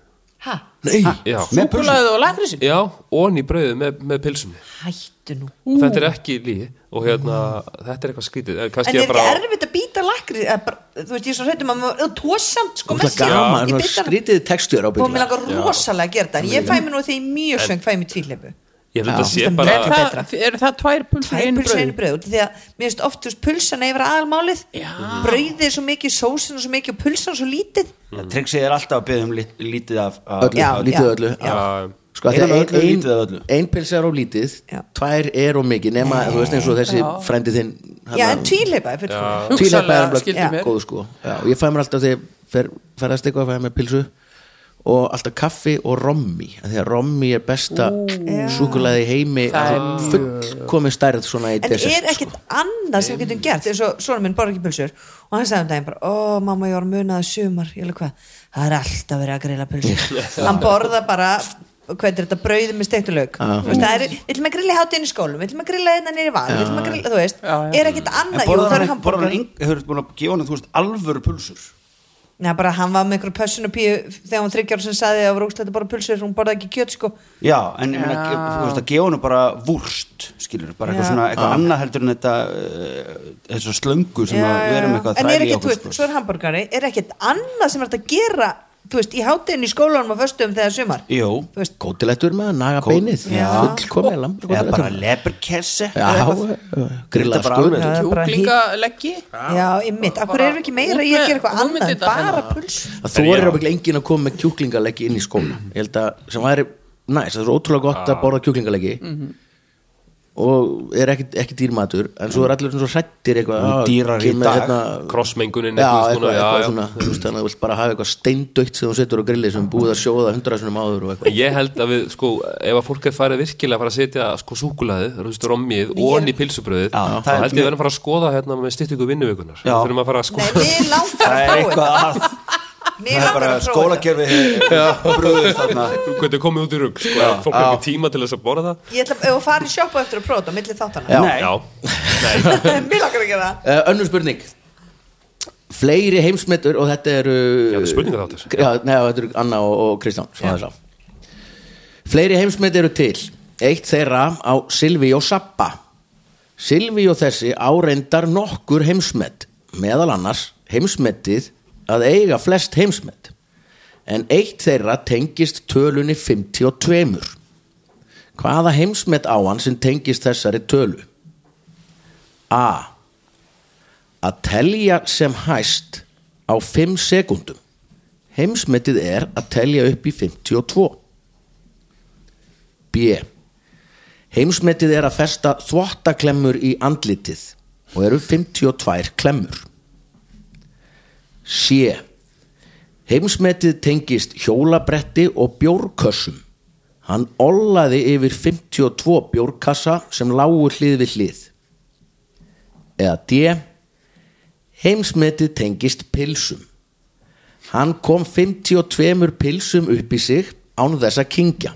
ha, nei, já, með pulsu Súkkulaðið og lakrísin já ón í brauðið með, með pilsunni hættu nú og þetta er ekki lígi og hérna, þetta er eitthvað skrítið en en kannski er ég bara ekki erfitt að býta lakri eða bara, þú veist ég er svo hrættum að maður og tósamt sko það er gaman, svona skrítið textur á og mér bílana langar rosalega að gera þetta en ég fæ mér nú því mjög söng fæ mér tvíhleipu ég held að þetta Já. sé Er bara það, er það tvær pulsur í Tvær einu pulsa brauði? einu brauð út af því að mér finnst oft þú veist, pulsan yfir aðalmálið brauðið er svo mikið, sósin er svo mikið og pulsan svo lítið Trixið er alltaf að byggja um lit- lítið af af- öllu, Já, lítið já, öllu já. sko að Einu af öllu, þegar ein, lítið af öllu. ein, ein pilsa er of lítið Já. tvær er of mikið nema, þú veist eins og þessi Já. frændi þinn já, en tvíleipa er fyrir fólk Tvíleppa er Hugsanlega skildi alveg mér. góð sko já, og ég fæ mér alltaf þegar ég fer, ferðast eitthvað fæ ég mér pilsu og alltaf kaffi og rommi af því að rommi er besta súkulaði heimi Það er fullkomi stærð svona í En er desert ekkit sko. annað sem við getum gert eins og svona minn bara ekki pulsur og hann sagði um daginn bara, ó mamma ég var munað sumar, ég alveg hvað, það er alltaf verið að grilla pulsur, hann borða bara hvað er þetta, brauði með steiktuleik Já. þú veist, það er, við ætlum að grilla hátinn í skólum við ætlum að grilla hérna nýri val, við ætlum að grilla þú veist, Já, já. er ekkit annað, jú það borðar er hann, borðar hann hamburger yng- hefur búin að gefa hann, þú veist, alvöru pulsur Nei, bara hann var með einhverjum pössun og píu þegar hún þryggjar sem sagði að hún rúkslega bara pulsur hún borða ekki kjöt sko já, en ég meina, ge- þú veist, að gefa hann bara vúrst, skilur, bara eitthvað Já. svona eitthvað annað heldur en þetta uh, þessar slöngu sem að við erum eitthvað að en er þræla í ekki, þú okkur veist, sko. svo er hamburgari er ekkert annað sem er hægt að gera þú veist, í hátinn í skólanum og föstum þegar sumar Jú, þú veist, gótilegtur með að naga Kó- beinið Já. fullkomi eða bara leberkesse já, grilla Þetta bara sko alveg. Já, það er bara Kjúklinga leggji já, ég mitt, af hverju erum við ekki meira í að gera eitthvað annað en bara puls að þú er ábygglega enginn að koma með kjúklingaleggi inn í skóla ég held að sem væri næst það er svo ótrúlega gott að borða kjúklingaleggi og er ekkit, ekkit dýrmatur en svo er allir svona svo hrættir eitthvað Nú "Ah, dýrari í kemur hérna dag, krossmengunin já, eitthvað eitthvað, svona, já, eitthvað já. svona þú veist, þannig að þú vilt bara hafa eitthvað steindaukt sem þú setur á grilli sem er búið að sjóða hundra sinum áður og eitthvað Ég held að við, sko, ef að fólk er farið virkilega að fara að setja sko súkulaðið, rústu rommið og onni pilsubröðið, Já, þá það er held ég mjög- að verðum að fara að skoða hérna með styrtingu vinnuvikunar. Já. Við þurfum að fara að nei, skoða. við langar það að er prófa eitthvað að það er þetta við langar bara að prófa þetta skólakerfi brúðist þarna Hvernig komið út í rugg, sko, fólk er ekki tíma til þess að borða það. ég ætla ef að fara í sjoppu eftir að prófa þetta á milli þáttana Já. Nei. mér langar að gera það uh, önnur spurning fleiri heimsmetur og þetta eru Já, þetta er spurningaþáttur. já, nei, þetta eru Anna og, og Kristján sem aðeins á. fleiri heimsmet eru til eitt þeirra á Silvíó Sappa Silvíó þessi áreindar nokkur heimsmet meðal annars heimsmetið að eiga flest heimsmet en eitt þeirra tengist tölunni 52 hvaða heimsmet á hann sem tengist þessari tölu A að telja sem hæst á 5 sekúndum heimsmetið er að telja upp í 52 B heimsmetið er að festa þvottaklemmur í andlitið og eru 52 klemmur C heimsmetið tengist hjólabretti og bjórkössum hann ollaði yfir 52 bjórkassa sem lágu hlið við hlið eða D Heimsmetið tengist pilsum. Hann kom 52 pilsum upp í sig án þess að kingja.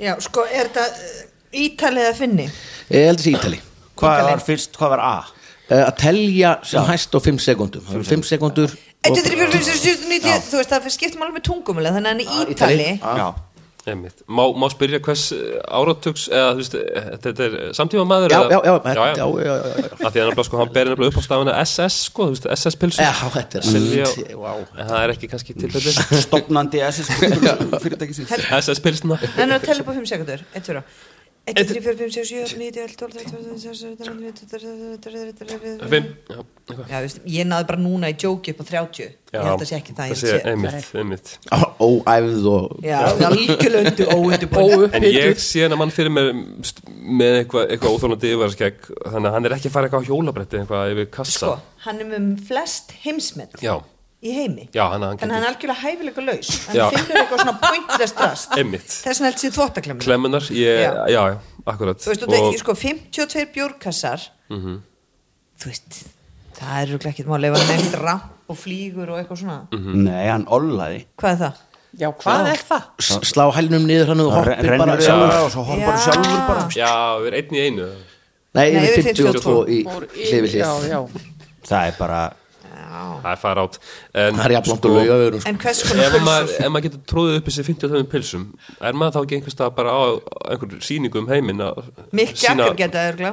já, sko, er þetta ítalið að finni Ég held þessi ítali. hvað var fyrst, hvað var A Eh, Að telja sem hæst á 5 sekundum. 5 sekundur. 1, 2, 3, 4, Sko, 5, 6, 7, 9, þú veist það skiptum alveg með tungumilega þannig að hann er Ítali. ítali Já. já Einmitt. Má, má spyrja hvers eh, áratugs eða þú veist, eh, þetta er samtíma maður Já, eða, já, já, já, já. já, já, já, já. Af því að nefnilega sko, hann ber nefnilega upp á stafana SS sko, þú veist, SS pilsu Já, Eh, þetta er svolítið, vá. en það er ekki kannski tilfelli stopnandi SS fyrirtæki síns SS pilsna Nei, nú tellum bara 5 sekundur 1, 2, 1, 3, 4, 5, 6, 7, 8, 9, 10, 11, 12, 5 13 já, eitthvað. Já, veist, ég náði bara núna í jóki upp á 30 Ég Já, held að sé ekki það ég sé sé einmitt, einmitt. Á- Óæfð og... Já, algjörlöndu óundu en ég sé hennar mann fyrir mér mm, st- með eitthvað eitthva óþólandi yfirvarskegg þannig að hann er ekki að fara eitthvað á hjólabretti eitthvað yfir kassa Sko, hann er með flest heimsmet já, í heimi já, hann, hann Þannig að hann er algjörlega hæfilega laus Hann Já. finnur eitthvað svona pointless drast Einmitt. Þess vegna held sér þvóttaklemmur klemmunar, ég, Já. já, já, akkurat Þú veist, og... það, sko, 52 bjórkassar Þú veist, það er örugglega ekkert máli ef hann nefnt ramp og flýgur og eitthvað svona nei, hann ollaði Hvað er það? Já, hvað er það? S- Slá hælnum niður hann og Það hoppi rennur bara bara sjálfur. sjálfur á og svo hoppar Já. sjálfur bara já, við erum einn í einu Nei, Nei, yfir yfir 52 í Fór í- hlið við Já, hlið. já það er bara það er fara átt en, sko, Það er jafnlónt og sko. lauga við En hvers konar ef að maður, pulsur? ef maður getur tróðið upp þessi 52 pilsum er maður þá ekki einhvers stað bara á einhverjum sýningum heiminn að Mikk sýna- jakkur geta örgla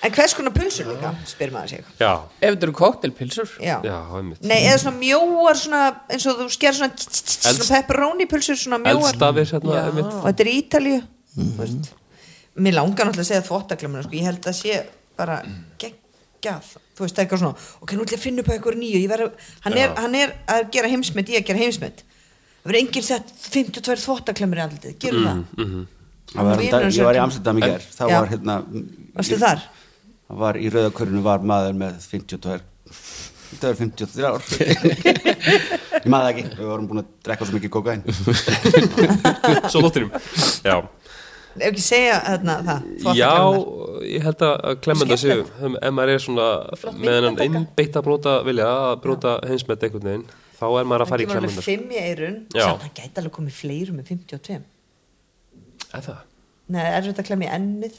En hvers konar pulsur líka, spyr maður sig já, Ef þetta eru koktelpilsur Já, já, einmitt Nei, eða svona mjóar svona, eins og þú sker svona, svona pepperoni pulsur svona mjóar eldstafir hérna, einmitt Ah. og þetta er í Ítalíu mm -hmm. Mér langar náttúrulega að segja þvóttaklemmuna sko. ég held að sé bara geggjað þú veist eitthvað svona, ok, nú ætla ég að finna upp eitthvað nýju, ég verð að, hann er, hann er að gera Mm, mm-hmm. heimsmynd, ég að gera heimsmynd það verður enginn sett 52 þvottaklemmur í andlitið, gerum það Það var um Vinurinn dag- sem ég var í kemur. Amsterdam í En- gær það Já. var hérna Varstu í- þar? það var í rauðakörinu var maður með 52 það var 53 ár ég maður það ekki, við vorum búin að drekka svo mikið kokain svo lóttinum já, Ef ekki segja þarna það þú átt að já gera það. ég held að klemmenda séu Skemmtilegt. um, ef maður er svona með hennan innbeitt að bróta vilja að bróta heimsmet einhvern veginn þá er maður að Það fara í kemur alveg klemmenda fimm í eirun Já. Samt það gæti alveg komið fleirum með 52 það Nei, er þetta að klemja ennið?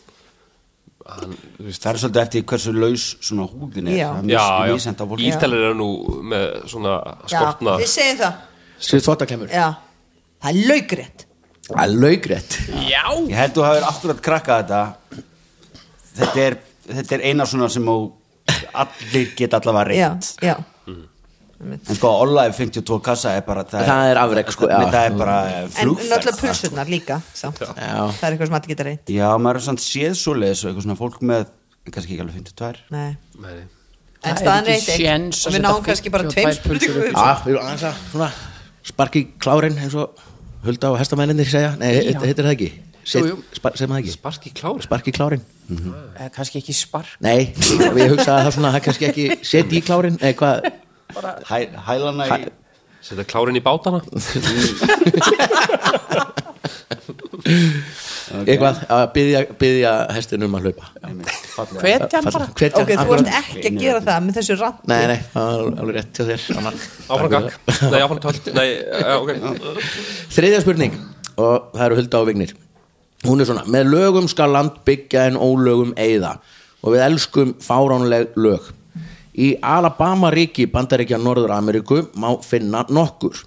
hann, þú veist, það er svolítið eftir hversu laus svona húðin er Já. það já, er mis- já, misjafnt á fólki. ítalir eru nú með svona skortna Já, við segjum það Svið þvottaklemur Já, það er laugrétt Það er laugrætt ég held þú hafur akkurat krakkað þetta þetta er, þetta er eina svona sem á allir geta allavega Já, reynd já en sko, Olla er 52 kassa er bara, það, Það er afrek, sko, já. það, það er bara eh, En flugferð sko. náttúrulega pulsurnar líka samt. Já. Það er eitthvað sem allir geta reynd já, maður er svona séð svo leiðis og eitthvað svona fólk með kannski ekki alveg 52 Nei Nei, nei. Það En er staðan ekki reynd eitt séns að Og við setja náum kannski bara 52 tveim pulsur upp í. spurningum Já, við erum aðeins að svona sparki klárin eins og hulda og hestamælindir segja Nei, Já. þetta heitir það ekki Set, Jú, jú. spar, Segir maður það ekki? sparki klári Sparki klárin Eh, kannski ekki spark Nei, ég hugsaði það svona, það kannski ekki set í klárin Nei, hvað, Hæ, hælana í setja klárin í bátana eitthvað að byðja, byðja hestin um að hlaupa Hver? hvetja hann bara Hvetja Ok, þú akkurat. ert ekki að gera það með þessu rann Nei, nei, það var alveg rétt til þér Anna. áfram gakk, nei áfram tölt nei, eh, ok Þriðja spurning og það eru Hulda og Vignir Hún er svona, með lögum skal land byggja en ólögum eyða og við elskum fáránleg lög Í Alabama ríki bandaríkja Norður-Ameríku má finna nokkur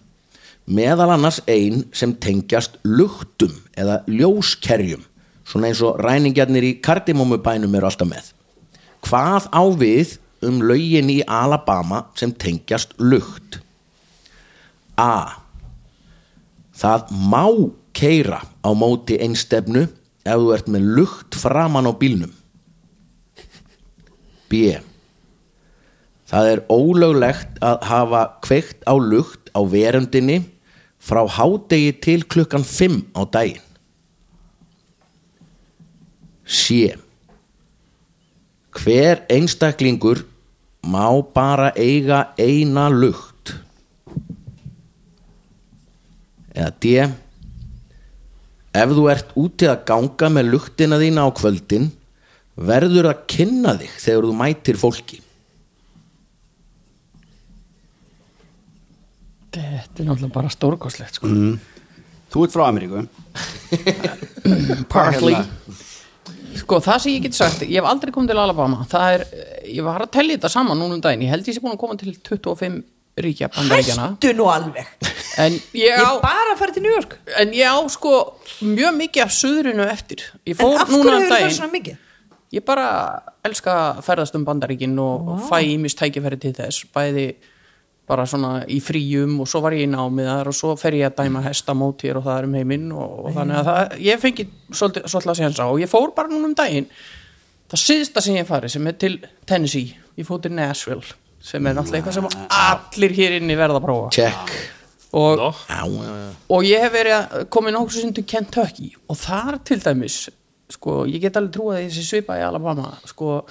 meðal annars ein sem tengjast luktum eða ljóskerjum svona eins og ræningjarnir í kardimómubænum eru alltaf með Hvað á við um lögin í Alabama sem tengjast lukt? A. Það má keira á móti einstefnu ef þú ert með lukt framan á bílnum. B. Það er ólöglegt að hafa kveikt á lukt á verundinni frá hádegi til klukkan 5 á daginn. C. Hver einstaklingur má bara eiga eina lukt eða D ef þú ert úti að ganga með luktina þína á kvöldin verður að kynna þig þegar þú mætir fólki þetta er náttúrulega bara stórkoslegt sko. Þú ert frá Ameríku Partly. sko það sem ég get sagt, ég hef aldrei komið til Alabama það er, ég var að tellja þetta saman núna um daginn, ég held ég sé búin að koma til 25 ríkja bandaríkjana Hættu nú alveg en ég Ég er á, bara að fara til New York en ég á sko mjög mikið af suðrinu eftir ég En fór af hverju núna um hefur það daginn svona mikið? Ég bara elska að ferðast um bandaríkin og fæ ímist tækifæri til þess bæði bara svona í fríum og svo var ég í námið þar og svo fer ég að dæma hesta mótir og það er um heiminn og, og þannig að það, ég fengi svolítið, svolítið að séhansa og ég fór bara núna um daginn það síðsta sem ég hef farið sem er til Tennessee, ég fór til Nashville sem er náttúrulega eitthvað sem allir hér inni verða að prófa check og, Nó. Á, eh, og ég hef verið að komið nokkuð sinn til Kentucky og þar til dæmis sko, ég get alveg trúið að þessi svipa í Alabama sko,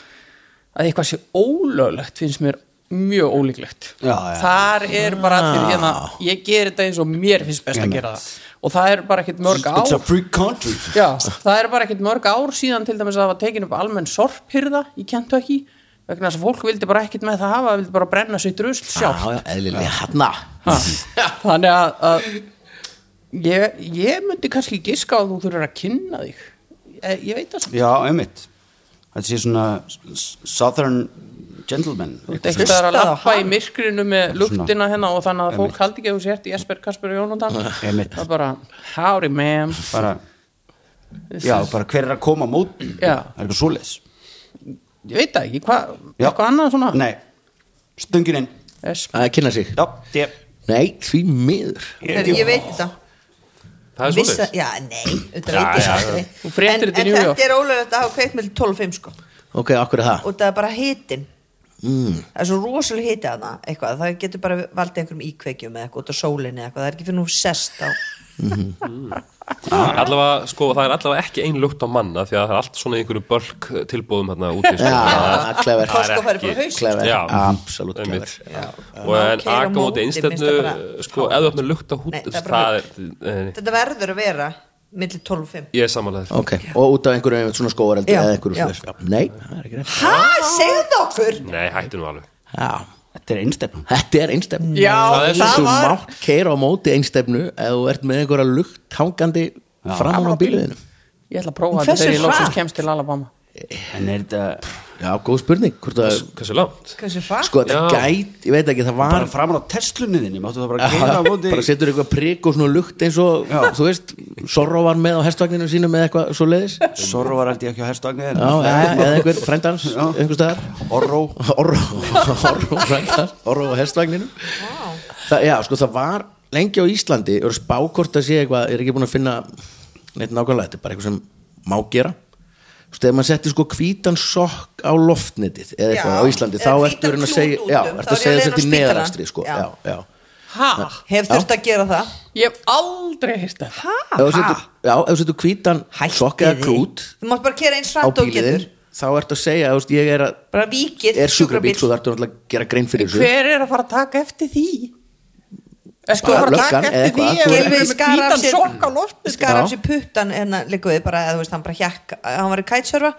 að eitthvað sé ólöglegt finnst mér mjög ólíklegt Já, já. Ah. þar er bara allir hérna ég ger þetta eins og mér finnst best að gera það og það er bara ekkert mörg It's a ár free country Já, það er bara ekkert mörg ár síðan til dæmis að það var tekin upp almenn sorphyrða í Kentucky vegna þess að fólk vildi bara ekkert með það hafa vildi bara brenna sér drusl á, sjálf já, eðlilega hanna Ha. þannig að, að ég, ég myndi kannski giska að þú þurfir að kynna þig ég, ég veit það samt. Já, einmitt Þetta sé svona s- Southern gentleman þú ert ekkert að Hlustaðu á lappa í hann. myrkrinu með luktina hérna og þannig að fólk haldi ekki að þú sért í Esper Kasper og Jónundan Einmitt. það er bara howdy ma'am bara, Já, bara hver er að koma á mót Já. Það er eitthvað svoleiðis ég veit það ekki, hvað, Já. eitthvað annað svona Nei, stöngin inn Esper að kynna sig Já, ég nei, því miður Heyrðu, Ég veit þetta það er Vissa, svolítið já, nei, auðvitað veit ég það aldrei. Þú fréttir þetta En, í en New York. þetta er ólöglegt að hafa kveikt með 12.5 sko ok, okkur er það og það er bara hitin mm. það er svo rosalega hiti að það eitthvað, það getur bara valdið einhverjum íkveikjum eða eitthvað út á sólinni eða eitthvað, það er ekki fyrir nú sest á allavega, sko, það er allavega ekki ein lukt á manna því að það er allt svona í einhverju bölk tilbúðum hérna úti sko. Já, clever. Það er Costco fær ekki- bara haust. Clever, Já, absolutt einmitt. clever. og Já, en keyra á aka móti, móti einstefnu minnst það bara- sko, ef þú opnar lukt á hút Nei, það er bara það er, nei, þetta verður að vera millir 12 og 5 ég er samanlega Ok, og út af einhverju einmitt svona skóareldi Já, eða einhverju já. slags Nei, það er ekki reynd ha, segðu okkur nei, hættu nú alveg Já, Þetta er einstefnum þetta er einstefn Já, það, Þú var mátt keira á móti einstefnu ef þú ert með einhverja lukt hangandi fram á bíliðinu Ég ætla að prófa þetta Hversu þegar ég hratt? loksins kemst til Alabama En er þetta Já, góð spurning Hvort að, hversu langt? hversu hratt sko, þetta Já. gæt, ég veit ekki, það var bara framar á testlunni þinni Máttu það bara að gera á móti bara setur eitthvað prik og svona lukt eins og, Já. þú veist, Sorro var með á hestvagninu sínu með eitthvað svo leiðis Já, Sorro var aldrei ekki á herstvagnir eða eða einhver frændans, einhver staðar Orro Orro, Orro frændans, Orro á hestvagninu Vá. það, Já, sko, það var lengi á Íslandi og spákort að sé eitthvað, er ekki búin að finna neitt nákvæmlega, þetta er bara eitthvað sem má gera Þú veist, ef maður setti sko hvítan sokk á loftnetið eða Já, eitthvað á Íslandi, eða þá hvítan ertu í raun að klút segja, út já, um, þá ertu er að ég segja leiðin á þetta í spítalann. neðastri, sko, Já. já, já. Ha, hef þurft að gera það ég hef aldrei hýrt það Ah, ef þú setur, já, ef þú setur hvítan sokk eða krút þú mátt bara kera á eins hratt og þú bílinn getur þá ertu að segja, þú veist, ég er, að, bara vikið er sjúkrabíl svo þartu náttúrulega að gera grein fyrir þessu Hver er að fara að taka eftir því? Er sko að Bara fara að löggan taka eða eftir því eitthvað, ef þú- við erum Gylfi með skar af hvítan sér sokk á lofti? skar af Já. sér puttan hérna líkuði bara eða þú veist hann bara hjakk hann var í kætsörfa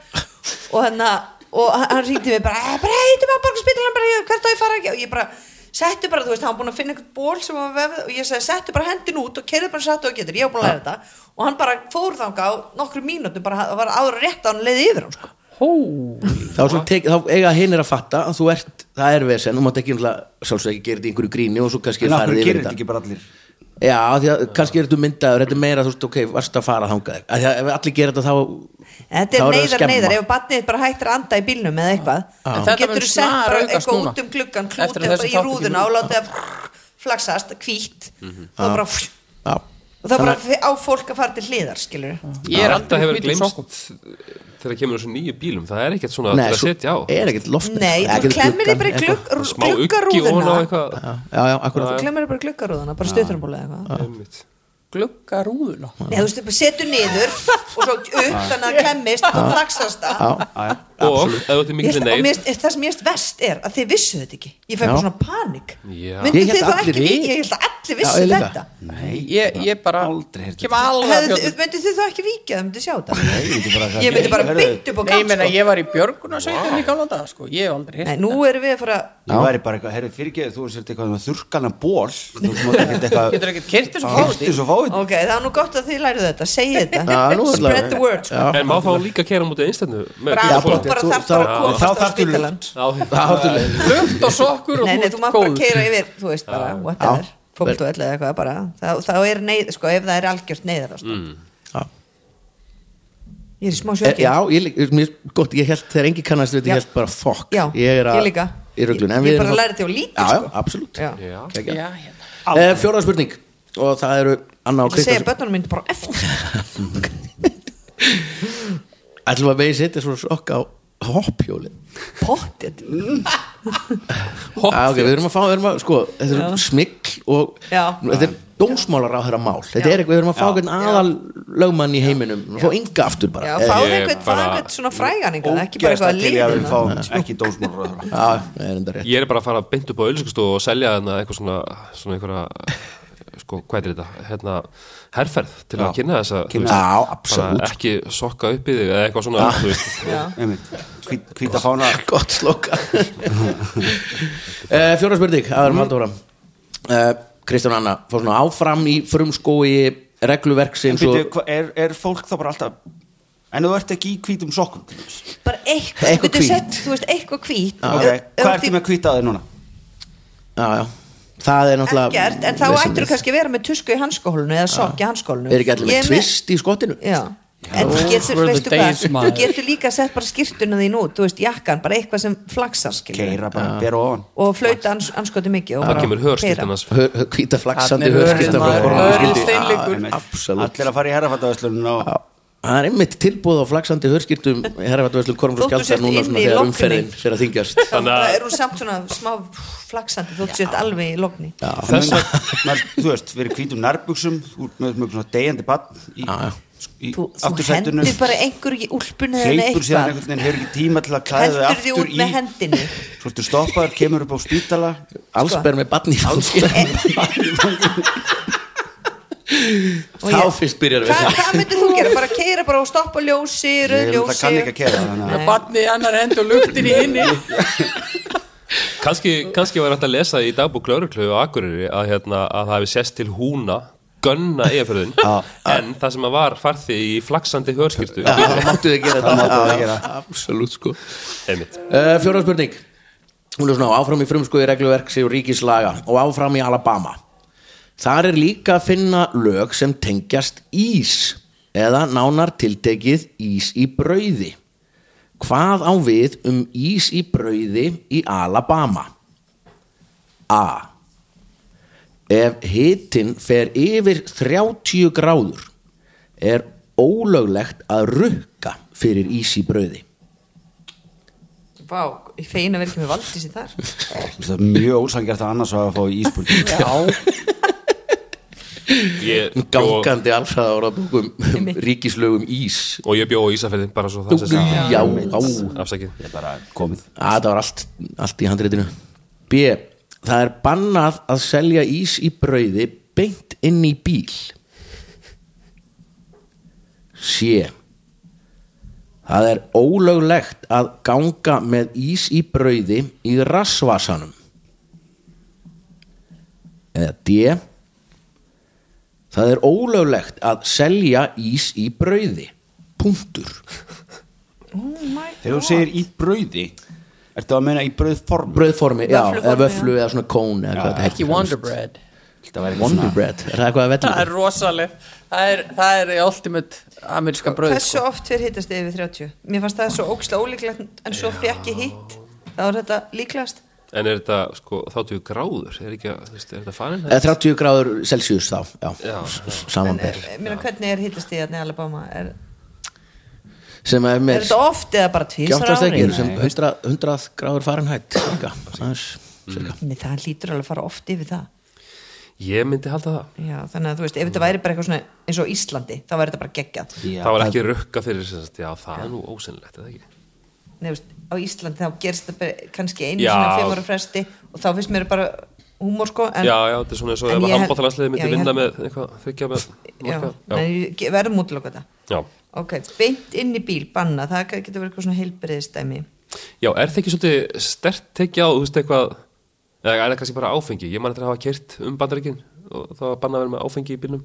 og hann og hann- hann ringdi mig bara "Eh, bara heiti maður borgarspítalan bara ég- hvert á ég að fara ekki og ég bara settu bara þú veist hann var búin að finna eitthvað ból sem var vefð og ég segi settu bara hendin út og kerði bara sattu og getur ég var búin að læra þetta og hann bara fór þanga á nokkru mínútu bara það var ára rétt að hann leiði yfir hann sko Hó, þá, er svona tek, þá eiga hinn er að fatta að þú ert, það er vesen, þú mátt ekki náttúrulega sjálfsög ekki gera þetta í einhverju gríni og svo kannski En af farið hverju yfir gerir þetta þetta ekki bara allir já, af því að kannski er þetta myndaður, þetta er meira þú veist, ok, varst að fara þangað Af því að ef allir gera þetta þá En þetta Þá er það að er neyðar skemma. neyðar ef barnið bara hættir að anda í bílnum eða eitthvað Já. en Þetta þú getur mun sett bara snaraukast eitthvað núna. út um gluggan Eftir klútið að bara þessi í þáttur kemur rúðuna og út. látið að flaksast hvítt og bara Mhm. já, og það bara á fólk að fara til hliðar skilur ég er þetta aldrei með hefur hvítan glemst sokk þegar kemur þessu nýju bílum það er ekkert svona Nei, til að svo setja á er ekkert loftnet Nei, eða þú ekkert klemmir í gluggann, bara í eitthvað. glugg- rú- smá uggi ofan á gluggarúðuna eitthvað já, já, akkurat þú klemmir bara í gluggarúðuna bara stöðturnbóla eða eitthvað Einmitt. glugga rúðuna Nei, þú veist, þú bara setur niður og svo upp þannig að klemmist og flaksast það já, og ef þú ert í Ég mikilvæg veist- og mér neyð finnst- það sem ég veist verst er að þið vissu þetta ekki ég fæ Já. bara svona panik Já. myndu Ég hélt þið þá að allir ekki vi- ég held að allir Já, vissu ég líka. þetta Ég, ég bara Aldrei heyrt kem alveg að Hefðu- bjóta myndu þið þá ekki vikið að þið myndu sjá þetta Nei, myndi bara ég myndi bara Heyrðu, bytt upp á sko. Nei, ég meina, gangskók ég var í björgun og sveitum í gamla daga, sko, ég hef aldrei Nei, hýrt nú erum við að fara Ég væri bara eitthvað, herri fyrirgeðu, þú sért eitthvað með þurrkanan ból Þú mátt ekkert eitthvað Getur ekkert kyrkt þessu fólk Hýttis og fáið ok, það er nú gott að þið lærið þetta segið þetta, Já, nú er spread allavega. the word sko. Já. en má þá líka kæra mútið einstefnu með Bravo, Já, hvítan sokk? pottþétt. bara Þú- þarf bara þá- að þá komast á þarftu spítalan lukt. Já, það áttu leið Lumt og sokkur og Nei, nei, ert þú mátt bara góður. keira yfir, þú veist bara, whatever, fólktu eða eitthvað bara, þá, þá er neyð, sko, ef það er algjört neyðar, mm. Já. ég er í smá E, sjöki, já, ég, lík- mér, gott, ég held þegar engi kannast við þetta, Já. ég held bara fokk Já, ég er að, ég líka. í ruglun Ég- ég bara lærði þetta á lítið, já, já, sko. absolutt Já. Já. Já, hérna. e, fjóra spurning og það eru Anna og ég segi Kristján börnunum myndi bara eftir, ætlum við að megi setja svona sokk á hoppjóli pottið, ah, okay, við erum að fá, við erum að, sko, þetta er smikl og Já. þetta er dómsmálar á þeirra mál þetta Já. er eitthvað, við erum að fá einhvern aðal lögmann í heiminum, fá enga aftur bara já, Eh, fáðu Ég einhvern, fáðu bara- einhvern svona frægan einhvern, ekki Ógeðast bara eitthvað að að til ég að við liðina, fáum ekki dósmálur já, það er enda rétt ég er bara að fara beint upp á auðlýsingastofu og selja hérna eitthvað svona, svona einhverja sko, hvað er þetta, hérna herferð til að Já. kynna þessa þú Kynna. veist, Já, bara absolút. ekki sokka upp í þig eða eitthvað Ah. svona þú veist. Hvíta fána gott slokka uh, fjóra spurning, það Mhm. erum haldið áfram uh, Kristján Anna, fór svona áfram í frumskói regluverksins Býtu, og hva- er, er fólk þá bara alltaf En þú ert ekki í hvítum sokkum til dæmis? bara eitthvað, Eitthvað getur hvítt. sett, þú veist, eitthvað hvít, Ah, Ok, Hvað ertu með hvít á þér núna? já, já, það er náttúrulega ekkert, en þá vesenið. ættir þú kannski að vera með tusku í hanskóhólinu eða sokk í hanskóhólinu, er ekki allir með tvist í skottinu Já. En þú getur, Those were veistu the hvað, days, þú maður. getur líka sett bara skýrtuna þín út, þú veist, jakkan, bara eitthvað sem flaksar, skilur. Keira bara, bera ofan og flauta ans, anskoti mikið og það bara kemur hörskiltan keyra. hans hvita flaksandi Þarna er hörðin, hörskiptan maður. Hörðin steinleikur. absolutt Hérna, Allir að fara í herrafattaverslun og Já, það er einmitt tilbúð á flaksandi hörskýrtum herrafatvæslu kormflóð Þóttu skjálta sért núna inni svona í Sko. þegar lokkunni. umferðin fyrir að þingjast þannig það að er hún samt svona smá flaksandi þótt sér alveg í logni þess að maður, þú veist, verið hvítum nærbuksum úr með með svona deyjandi bann í, Já, já. í þú, þú aftursætinu hendir bara einhverju í úlpunni eða hleypur síðan eitthvað einhvern veginn, hefur ekki tíma til að klæða þau hendur því aftur út með í hendinu svo ertu stoppaður, kemur upp á spítala allsber með batni Og þá ég- fyrst byrjar við Hva, hvað myndir þú gera? bara keira bara og stoppa ljósi, ég rauðljósi náttúrulega kann ekki að kera þannig að Nei. Barnið í annar hend og luktin í hinni kannski, kannski var hægt að lesa í dagbúk Lörglöfu og Akureyri að, hérna, að það hefði sést til húna gönna eigafjörðin en það sem að var farði í flaksandi hörskiltu það máttu þið gera máttu þau gera. absolutt sko einmitt uh, fjóra spurning hún er svona á, áfram í frumskoði regluverks og ríkislaga og áfram í Alabama þar er líka að finna lög sem tengjast ís eða nánar tiltekið ís í brauði hvað á við um ís í brauði í Alabama A ef hitin fer yfir 30 gráður er ólöglegt að rukka fyrir ís í brauði Vá, ég feina verið ekki með valdísi þar það er mjög ósangjart að annars að fá íspurning ég, Um og, gangandi alfræða orðabókum um ríkislögum ís og ég bjó á Ísafjörðin bara svo það sem já, sagt já. afsakið ég er bara komið Á, það var allt, allt í handritinu B. Það er bannað að selja ís í brauði beint inn í bíl C. Það er ólöglegt að ganga með ís í brauði í rassvasanum eða D. Það er ólöglegt að selja ís í brauði punktur þegar þú segir í brauði ertu að meina í brauðform brauðformi, já, Vöfluformi, eða vöflu eða svona kón eða hvað þetta Ekki Wonder Bread þetta væri eitthvað Wonder svona- bread, er það eitthvað að Það er vellu? rosaleg Það er, það er ultimate ameríska sko. bröð Hversu oft fyrir hittast yfir 30? Mér fannst það svo ógislega ólíklegt en svo fekk ég hitt þá er þetta líklegast en er þetta sko þáttu gráður er, ekki, að- þú veist, er þetta farin Eða 30 gráður Celsius þá, já, Já, já. en, samanber er, Eh, meina, hvernig er hittast í þarna í Alabama? Er, sem er er með þetta oft eða bara tvísar gjáttast ári? ekki, eru sem 100, 100 gráður Fahrenheit cirka, aðeins, cirka. Nei, það lítur alveg að fara oft yfir það ég myndi halda það Já, þannig að þú veist, ef þetta væri bara eitthvað svona eins og Íslandi, þá væri þetta bara geggjað Já, það var ekki rukka fyrir sem sagt, já það er nú ósynlegt eða ekki Nei, þú veist, á Íslandi þá gerst þetta bara kannski einu Já. svona fimm ára fresti og þá finnst mér bara húmór sko en, já já þetta er svona eins og ef en ég að held- handbóttalandsliði já, myndi ég vinna held- með eitthvað þykja með já, marka. nei, já, ég ge- verðum útiloka þetta já. ok, beint inn í bíl, banna það getur verið eitthvað svona heilbriðistæmi já er það ekki svolítið stert tekja á þú veist eitthvað eða er það kannski bara áfengi ég man eftir að hafa kert um bandaríkin og það var bannað að vera með áfengi í bílnum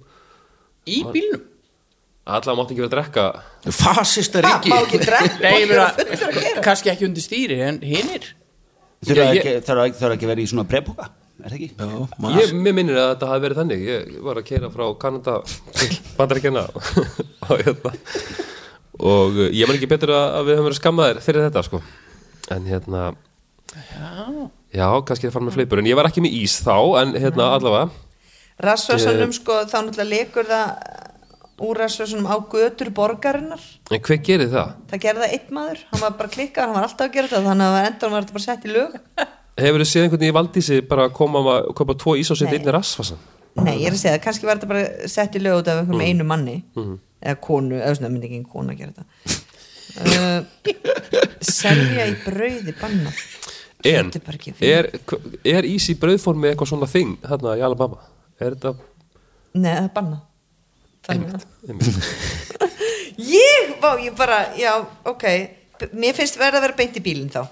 Í bílnum allavega mátt ekki vera að drekka fasista Ha, ríki má ekki drekka, má Nei, ekki ég vera meina, fullur að gera kannski ekki undir stýri en hinnir þurfa Ég- ég- ekki, þarf ekki, þarf ekki að vera í svona breyðbóka er það ekki? Já, ég, maður. mér minnir að þetta hafi verið þannig ég var að keira frá Kanada til bandaríkjana og hérna og uh, ég man ekki betur að, að við höfum verið skammaðir fyrir þetta sko en hérna já, kannski er farin með fleipur en ég var ekki með ís þá en hérna allavega rassvarsanum sko, þá náttúrulega lekur það uh, úr rassvarsanum á götur borgarinnar en hver gerir það? það gerði það einn maður, hann var bara klikkað hann var alltaf að gera þetta, þannig að endan var þetta bara sett í lög Hefur þið séð einhvern veginn í Valdísi bara að koma að kaupa tvo ís á sitt Nei. inn í rassfasan? Nei, ég er að segja það, kannski var þetta bara sett í lög út af einhverjum Mm. einu manni eða konu, eða svona myndi ekki einn konu að gera þetta uh, Selja í brauði banna En Þetta er bara ekki fyrir. er, er ís í brauðformi eitthvað svona þing hérna í Alabama? Er þetta Nei, það er banna Þannig að einmitt, Ég, vá, ég bara, já, ok B- Mér finnst verða að vera beint í bílinn þá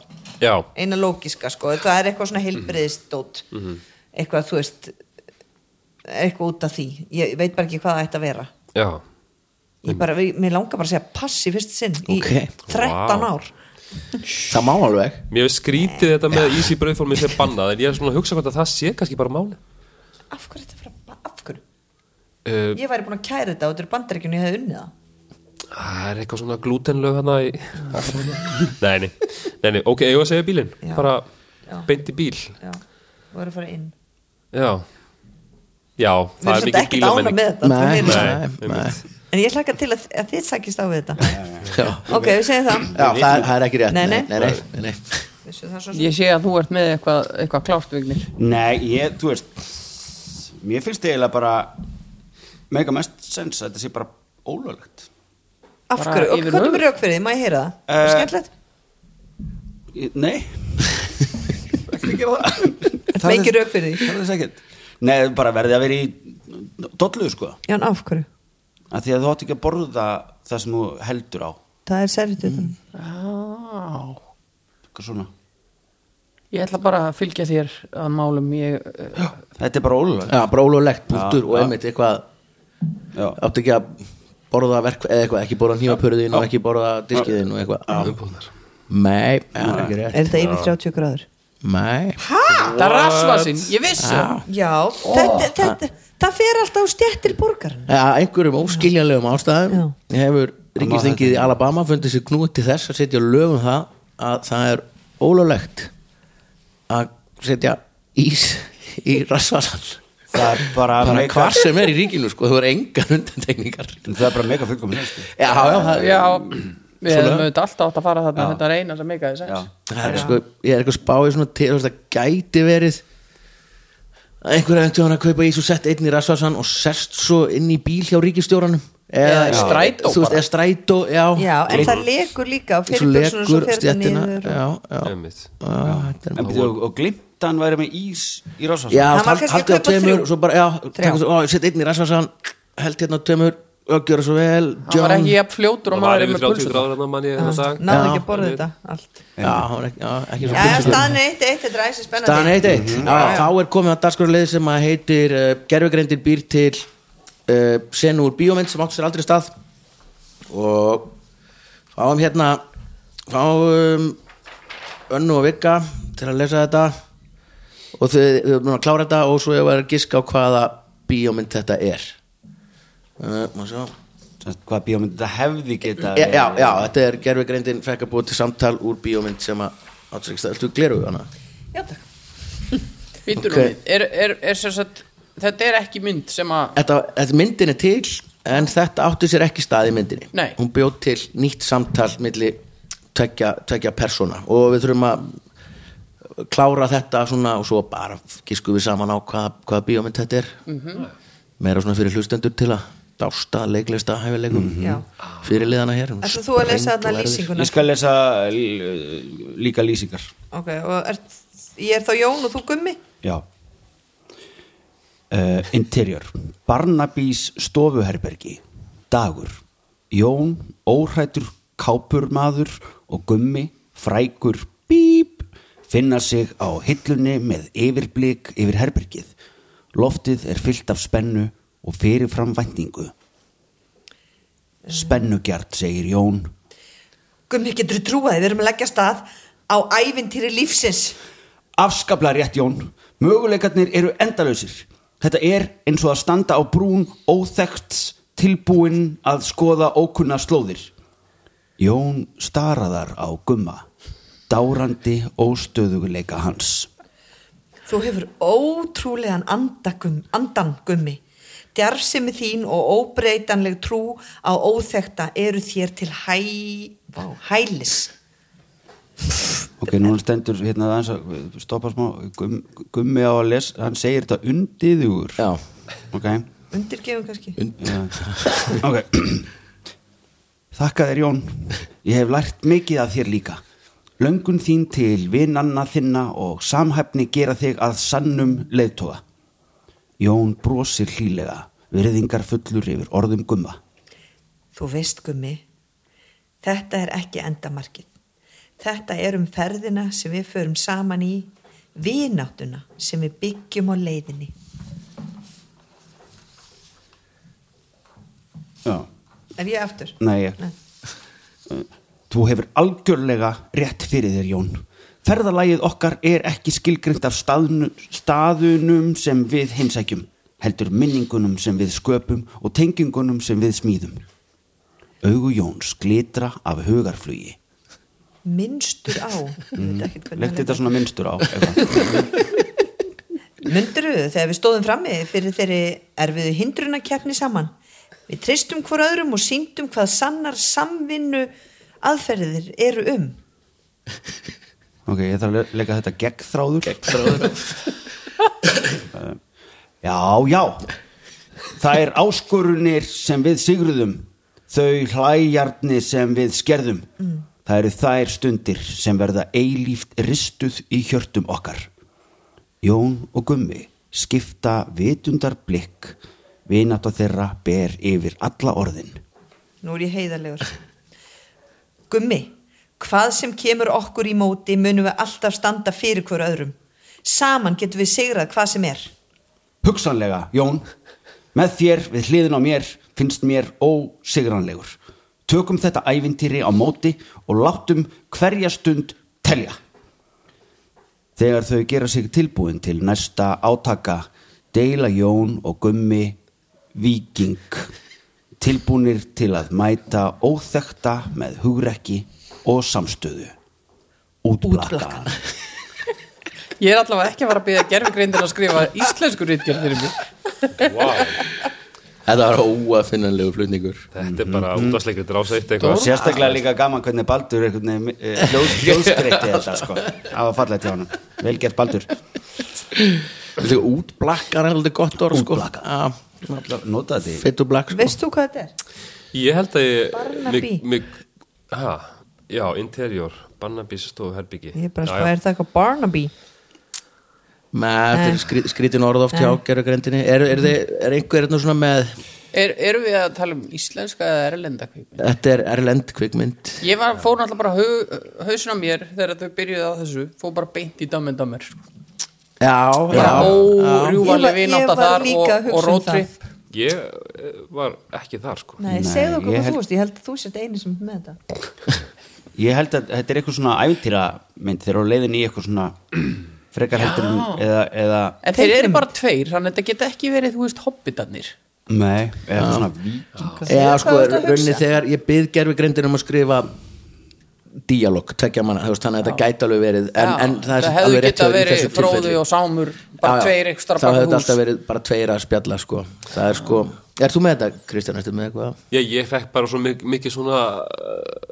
Já, Eina lógiska, sko, það er eitthvað svona heilbriðistót Mhm. Eitthvað, þú veist eitthvað út af því Ég veit bara ekki hvað það ætti að vera já Ég bara, mér langar bara að segja pass í fyrst sinn Ókei. í 13 Vá. ár það má alveg Mér hef skrítið þetta með ís í brauðformi sem bannað en ég er svona að hugsa hvort að það sé kannski bara máli af hverju þetta fyrir að af hverju? uh, Ég væri búin að kæra þetta og þetta er bandaríkjunni ég hefði unnið það Það er eitthvað svona glútenlög hana í Nei, nei, nei, nei ok, ég var að segja bílinn Já. bara Já. beint í bíl Já, við erum að fara inn Já, já Við það erum er svolítið mikið ekkert ána bílamenning með þetta Nei, við erum- nei, Nei, nei. einmitt. En ég hlakka til að, að þið sækist á við þetta Já, Ok, við segjum það Já, það er- það er ekki rétt Nei, nei. nei, nei, nei, nei. Vissu það er svo sem Ég sé að þú ert með eitthvað, eitthvað klártvignir Nei, ég, þú veist Mér finnst eiginlega bara mega mest sens að þetta sé bara ólöglegt af bara hverju, ok, yfir hvað er höfuð. rauk fyrir því, má ég heyra það Eh, uh, skemmtilegt, Ég- Nei Ekki gera það Með ekki rök fyrir því. Það er þess ekkert Nei, bara verði að vera í dollu sko já en af hverju að Því að þú átt ekki að borða það sem þú heldur á það er serrið mm. Já Eitthvað svona Ég ætla bara að fylgja þér að málum ég, eh, Þetta er bara ólöglegt Já, brólulegt punktur Já, og já. einmitt eitthvað Já. átt ekki að borða verk eða eitthvað, ekki borða nýjapurðin og ekki borða diskiðin og eitthvað umbúðnar Nei, það er ekki er rétt þetta yfir 30 gráður Nei, Það er rasvasin, ég vissi já, þetta, þetta, það fer alltaf á stjættir borgarna að einhverjum óskiljanlegum ástæðum hefur ríkistingið í Alabama fundið sér knúið til þess að setja lögum það að það er ólulegt að setja ís í rassvasan Það er bara, bara mega- hvar sem er í ríkinu sko, þú er engar undantekningar Það er bara mega fullkomin sko. Já, já, það Já, við hefum auðvitað alltaf átt að fara þarna Þetta er eina sem meikaði Já. sex Það er sko, ég er eitthvað spáið svona til þú veist, það gæti verið að einhverja eftir hann að kaupa ís og sett einn í rassvarsan og sest svo inn í bíl hjá ríkistjóranum eða Eða í strætó þú veist, bara. eða strætó, já, já, en það lekur líka á svo fyrirbjörnsunum svo lekur fer það stjættina niður já, já, Einmitt. Á, þetta er En býttu, og, og glimtan væri með ís í rásvarsal já, Hann var hald- haldið kannski að á kaupa tveimur þrjú. svo bara, já, taka svo, ó, sett einn í rassvarsan held hérna á tveimur og gjöra svo vel, Hann var John ekki jafn fljótur og það var maður er yfir með 30 pulsu gráður hann mann ég þennan dag náðu ekki Já. að borða þetta allt já, hann var ekki, já, ekki svo já, já, pulsu- staðan er eitt, eitt, þetta er æssi spennandi Staðan 1-1 Mhm. Já, Þá er komið að dagskorleið sem að heitir uh, Gerfugreindir býr til uh, senu úr bíómynd sem átti sér aldrei stað og fáum hérna fáum önnu og vika til að lesa þetta og þau þau eru búin að klára þetta og svo ég var að giska á hvaða bíómynd þetta er uh, Má sjá Hvað bíómynd þetta hefði geta Já, já, já, þetta er gerfugreindin fekk að búið til samtal úr bíómynd sem að átti sér ekki stað, ættu gleruðu hana? já, takk. Býtur Ok. okay. er, er, er sem sagt, Þetta er ekki mynd sem að þetta, þetta myndin er til en þetta átti sér ekki stað í myndinni Nei. hún bjóð til nýtt samtal milli tvekja, tvekja persóna og við þurfum að klára þetta svona og svo bara gísku við saman á hvað, hvaða bíómynd þetta er meira svona fyrir hlustendur til að dásta leiklista hæfileikum Mhm. Já. fyrir liðana hér Ætlar þú að lesa þarna Sprengd og erfið. lýsinguna Ég skal lesa eh, l- líka lýsingar ok, og er, ég er þá Jón og þú Gummi Já uh, Interior Barnabís stofuherbergi Dagur Jón, óhrætur kápurmaður og gummi, frækur bíp, finna sig á hillunni með yfirblík yfir herbergið. Loftið er fyllt af spennu og fyrirfram væntingu. Spennugjart, segir Jón Gummi, getur þú trúaði, við erum að leggja stað á ævintýri lífsins Afskapla rétt Jón Möguleikarnir eru endalausir Þetta er eins og að standa á brún óþekkt tilbúin að skoða ókunna slóðir Jón staraðar á gumma Dárandi óstöðuleika hans Þú hefur ótrúlegan andagum, andan gummi. Djarfsemi þín og óbreytanleg trú á óþekta eru þér til hæ, vá, hælis. Ok, núna stendur hérna aðeins að stoppa smá gum, Gummi á að lesa, hann segir þetta undiðugur já, Ok, Undirgefum kannski. ok Þakka þér Jón Ég hef lært mikið af þér líka Löngun þín til vinanna þinna og samhæfni gera þig að sannum leiðtoga Jón brosir hlýlega virðingar fullur yfir orðum gumma Þú veist gummi, þetta er ekki endamarkið. Þetta er um ferðina sem við förum saman í, vináttuna sem við byggjum á leiðinni. Já, Er ég aftur? nei ég Þú hefur algjörlega rétt fyrir þér, Jón. Ferðalagið okkar er ekki skilgrind af staðnu, staðunum sem við heimsækjum, heldur minningunum sem við sköpum og tengingunum sem við smíðum. Augu Jóns glitra af hugarflugi. Minnstur á. Mm. Legt þetta svona minnstur á. eitthvað. Mundur við þegar við stóðum frammi fyrir þeirri erfiðu hindrunakeppni saman. Við treystum hvora öðrum og síndum hvað sannar samvinnu aðferðir eru um. ok, ég þarf að le- leika þetta gegn þráður Eh, já, já það er áskorunir sem við sigrðum þau hlæjarnir sem við skerðum það eru þær stundir sem verða eilíft ristuð í hjörtum okkar Jón og Gummi skipta vitundar blikk vinátt þeirra ber yfir alla orðin Nú er ég heiðarlegur. Gummi, hvað sem kemur okkur í móti munum við alltaf standa fyrir hver öðrum. Saman getum við sigrað hvað sem er. Hugsanlega, Jón, með þér við hliðin á mér finnst mér ósigranlegur. Tökum þetta ævintýri á móti og láttum hverja stund telja. Þegar þau gera sig tilbúin til næsta átaka deila Jón og Gummi Víking tilbúnir til að mæta óþekta með hugrekki og samstöðu. Útblakkaðan. Ég er allavega ekki að fara að byggja gerfingreindin að skrifa íslensku rítgerð fyrir mig. wow. Þetta var óafinnanlegu flutningur Þetta er bara Mm-hmm. útvarsleikrið rása eitt Og eitthvað sérstaklega líka gaman hvernig Baldur einhvern veginn ljós, ljósgreyti þetta sko Það var fallegt hjá hann Vel gert Baldur Þetta er útblakkar er aldrei gott orð sko. Útblakkar. Ah, Nota þetta Fit og blakk sko. Veist þú hvað þetta er? Ég held að ég Barnaby. mig- mig- Ha, já, interior Barnaby stofu herbyggi Ég er bara sko, er það eitthvað Barnaby? Með þetta er skrí- skrítin orð oft hjá gerðugrendinni er, er, þið- er einhver eitthvað svona með Er, erum við að tala um íslenska eða erlenda kvikmynd? Þetta er erlend kvikmynd Ég var, fór náttúrulega bara hau, hausin á mér þegar þau byrjuðu á þessu, fór bara beint í dammen dammer. Sko. Já, já Bara Ég var- órjúvanlega ég vinátt var að þar líka að og, hugsa og um rótrip. Ég eh, var ekki þar sko Nei, Nei, segðu okkur ég hvað held- þú veist, ég held að þú sért eini sem er með þetta. Ég held að þetta er eitthvað svona ævintýra mynd Þeir eru á leiðin í eitthvað svona frekar heldur en eða, eða En þeir eru Teiknimynd. bara tveir, þannig að þetta geta ekki verið, þú veist, hobbitarnir. Nei, eða svona víking Já, Hvað sko, ertu að rauninni hugsa? þegar ég byrð gerðugrendin um að skrifa díalog, tvekja manna, þú veist, þannig að þetta gæti alveg verið en, Já, en það er það hefðu alveg rétt geta hjá þér í verið þessu fróði tilfelli. og sámur, bara Já, já. tveir ekstra þá hefur baka þetta hús. alltaf verið bara tveir að spjalla sko. það er sko, er þú með þetta Kristján, ertu með eitthvað Ég, ég fekk bara svo mik mikið svona uh,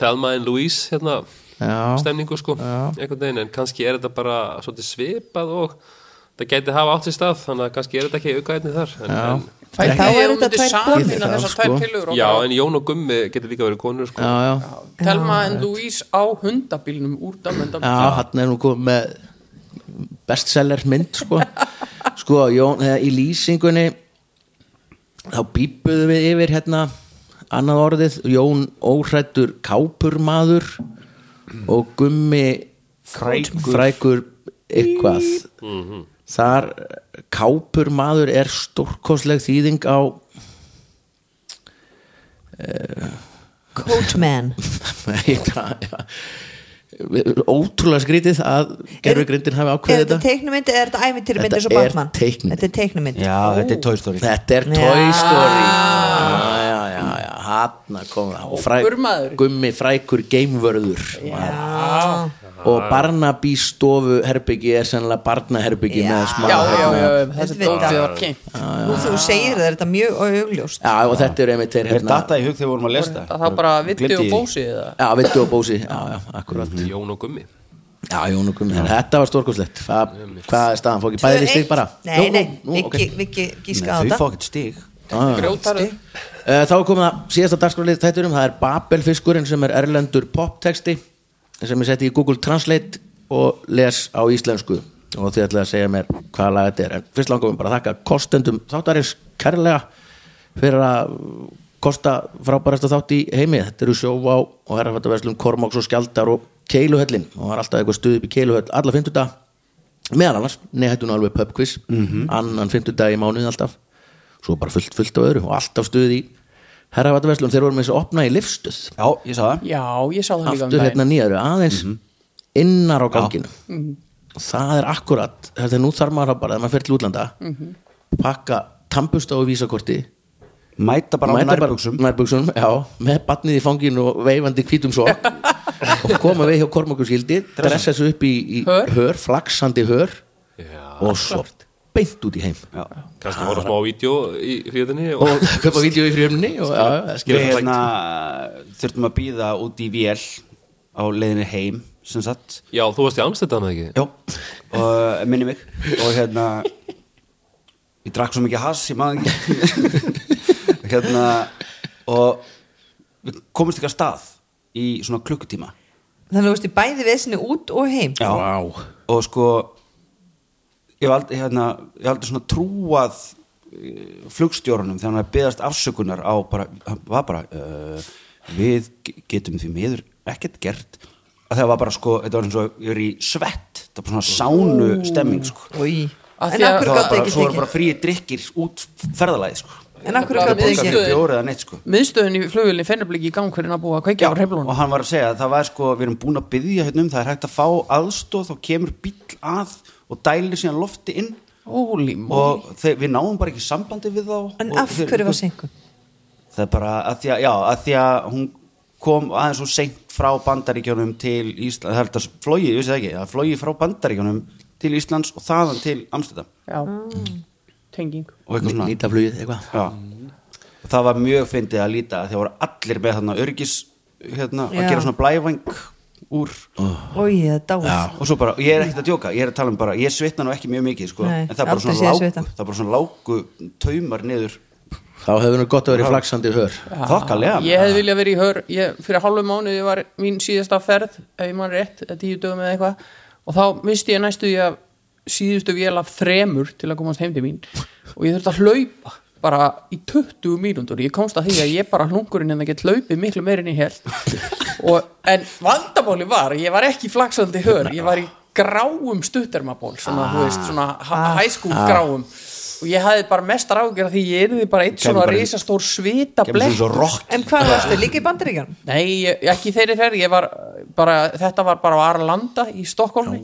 Thelma and Louise hérna, Já. stemningu sko einhvern veginn, en kannski er þetta bara svolítið svipað og það gæti hafa átt sér stað, þannig að kannski er þetta ekki aukaðinni þar en, en, Fætti Þá þá er er þetta þetta tvær samina konur. þessar tvær Sko. pillur Já, og en Jón og Gummi getur líka verið konur sko. já, já, Telma en Louise á hundabílnum úr damendam já, hann er nú komið með bestseller mynd sko, sko Jón, þegar í lýsingunni þá bípuðu við yfir hérna annað orðið, Jón óhrættur kápurmaður og gummi Frækur. frækur eitthvað Mhm. þar eh, kápurmaður er stórkostleg þýðing á Coatman. Nei, hvað, já. ótrúlega skrítið að gerfi grindin hafi Er ákveðið þetta þetta teiknumyndi eða er þetta ævintýri myndi Þetta eins og er Batman? teiknimynd. Þetta er teiknumyndi. Já, þetta er Toy Story þetta er Toy Story já, já, já, já, hann kom það og fræ, Gurmaður. gummi frækur geimvörður Já. og Barnaby stofu herbyggi er sennilega barnaherbyggi með smá Já, já, hérna- já, þessi Þetta veit dótið ég. var kynnt Nú þú segir það, er þetta mjög augljóst. já, og þetta er einmitt þeir Mér hérna datta í hug þegar við vorum að lesta Það þá bara vitti og bósi eða já, vittu og bósi, já, já, akkurat Jón og Gummi já, Jón og gummi, en þetta var stórkoslegt hvað hvað er staðan, fók ég bæði stig bara Nei, Nú, nei, nú, nú, ok. Viki- Viki gíska Þau á fá þetta. ekkert stig grjótarðu. Eh, Þá er komið að síðasta dagskrálið þætturum það er Babelfiskurinn sem er erlendur poptexti sem ég setti í Google Translate og les á íslensku og þið ætlaði að segja mér hvaða lag þetta er en fyrst langum við bara að þakka kostendum þáttarins kærlega fyrir að kosta frábærasta þátt í heimi þetta eru sjóvá og herrafættaverslum Kormáks og Skjaldar og Keiluhöllin og það er alltaf eitthvað stuð upp í Keiluhöll alla 50 meðal annars, neðhættun alveg pubquiz annan 50 í mánuði alltaf svo bara fullt, fullt á öðru og alltaf stuð í herrafatverslum, þeir voru með þess að opna í lifstuð Já, ég sá það Já, ég sá það líka um aftur hérna daginn nýjaru, aðeins innar á ganginu það er akkurat, þetta er nú þarf maður að bara þegar maður fer til útlanda pakka tampust á vísakorti Mæta bara á mæta bara- nærbuxum nærbuxum, já, með batnið í fangin og veifandi hvítum svo og koma við hjá kormokurskildi dressa þessu upp í, í Hör. hör, flaksandi hör Já, og svo beint út í heim Já kannski voru smá vídeo í fjöðinni og köpa vídeo í frumni og já, hérna- já, það skilur Við- það Gerðu við hérna þurftum að býða út í vél á leiðinni heim sem sagt Já, þú varst í Amsterdam eða ekki? Jó, og eh, minni mig og hérna ég drakk svo mikið hass, ég maður ekki hérna og við komumst ekki að stað í svona klukkutíma þannig að þú veist í bæði vesinni út og heim Já. Vá. og sko ég hef aldrei, hérna, ég hef aldrei svona trúað eh, flugstjórunum þegar hann er að beðast afsökunar á bara, hann var bara uh, við ge- getum því miður ekkert gert að það var bara sko, þetta var eins og ég er í svett, það var bara svona sánu stemming sko. Í. Af en því að- akkur það var gátt bara, ekki svo var bara tekið fríi drikkir út ferðalagi sko. en akkur bara gátt borgað ekki fyrir- bjórið eða neitt sko miðstöðin í flugvélni fennarblik í gang hvernig að búa að kveikja á og reyflunum hann var að segja að það var sko við erum búin að byggja hérna um það er hægt að fá aðstóð þá kemur bíll að og dælir síðan lofti inn Óli móli. og þeir, við náum bara ekki sambandi við þá en og af þeir- hverju var senkun það er bara að því að, já, að því að hún kom aðeins og seint frá bandaríkjónum til Ísland, það er þetta flóið, ég vissi það ekki það flóið frá bandaríkjónum til Íslands og þaðan til Amsterdam Mm. Já, tenging og eitthvað svona Nýta flugið eitthvað já. og það var mjög fyndið að líta að því voru allir með þarna örgis hérna, Já. að gera svona blævæng úr og ég er dáið og svo bara, og ég er ekkert að djóka, ég er að tala um bara ég svitna nú ekki mjög mikið, sko Nei, en það er bara aldrei svona séð lágu, svita. það er bara svona lágu taumar niður, Þá hefur nú gott að vera í flaksandi hör þokkalega Ég hefði viljað verið í hör ég, fyrir hálfu mánuði var mín síðasta ferð ef ég mann rétt, eða tíu dögum eða eitthvað og þá misti ég næstu ég síðustu vél af þremur til að komast heim til mín og ég þurfti að hlaupa bara í 20 mínútur ég komst að því að ég bara hlungurinn en það get hlaupið miklu meirinn í hel og, en vandamáli var, ég var ekki í flaksandi hör, ég var í gráum stuttermaból, svona, þú veist, svona ah, high school gráum og ég hafði bara mest ráðgjörð því ég erði bara eitt Kæmi svona bara í- risastór svita kemur svona svo rokk en hvað varstu líka í bandaríkjan Nei, ég- ekki þeirri ferð, ég var bara, þetta var bara á Arlanda í Stokkólmi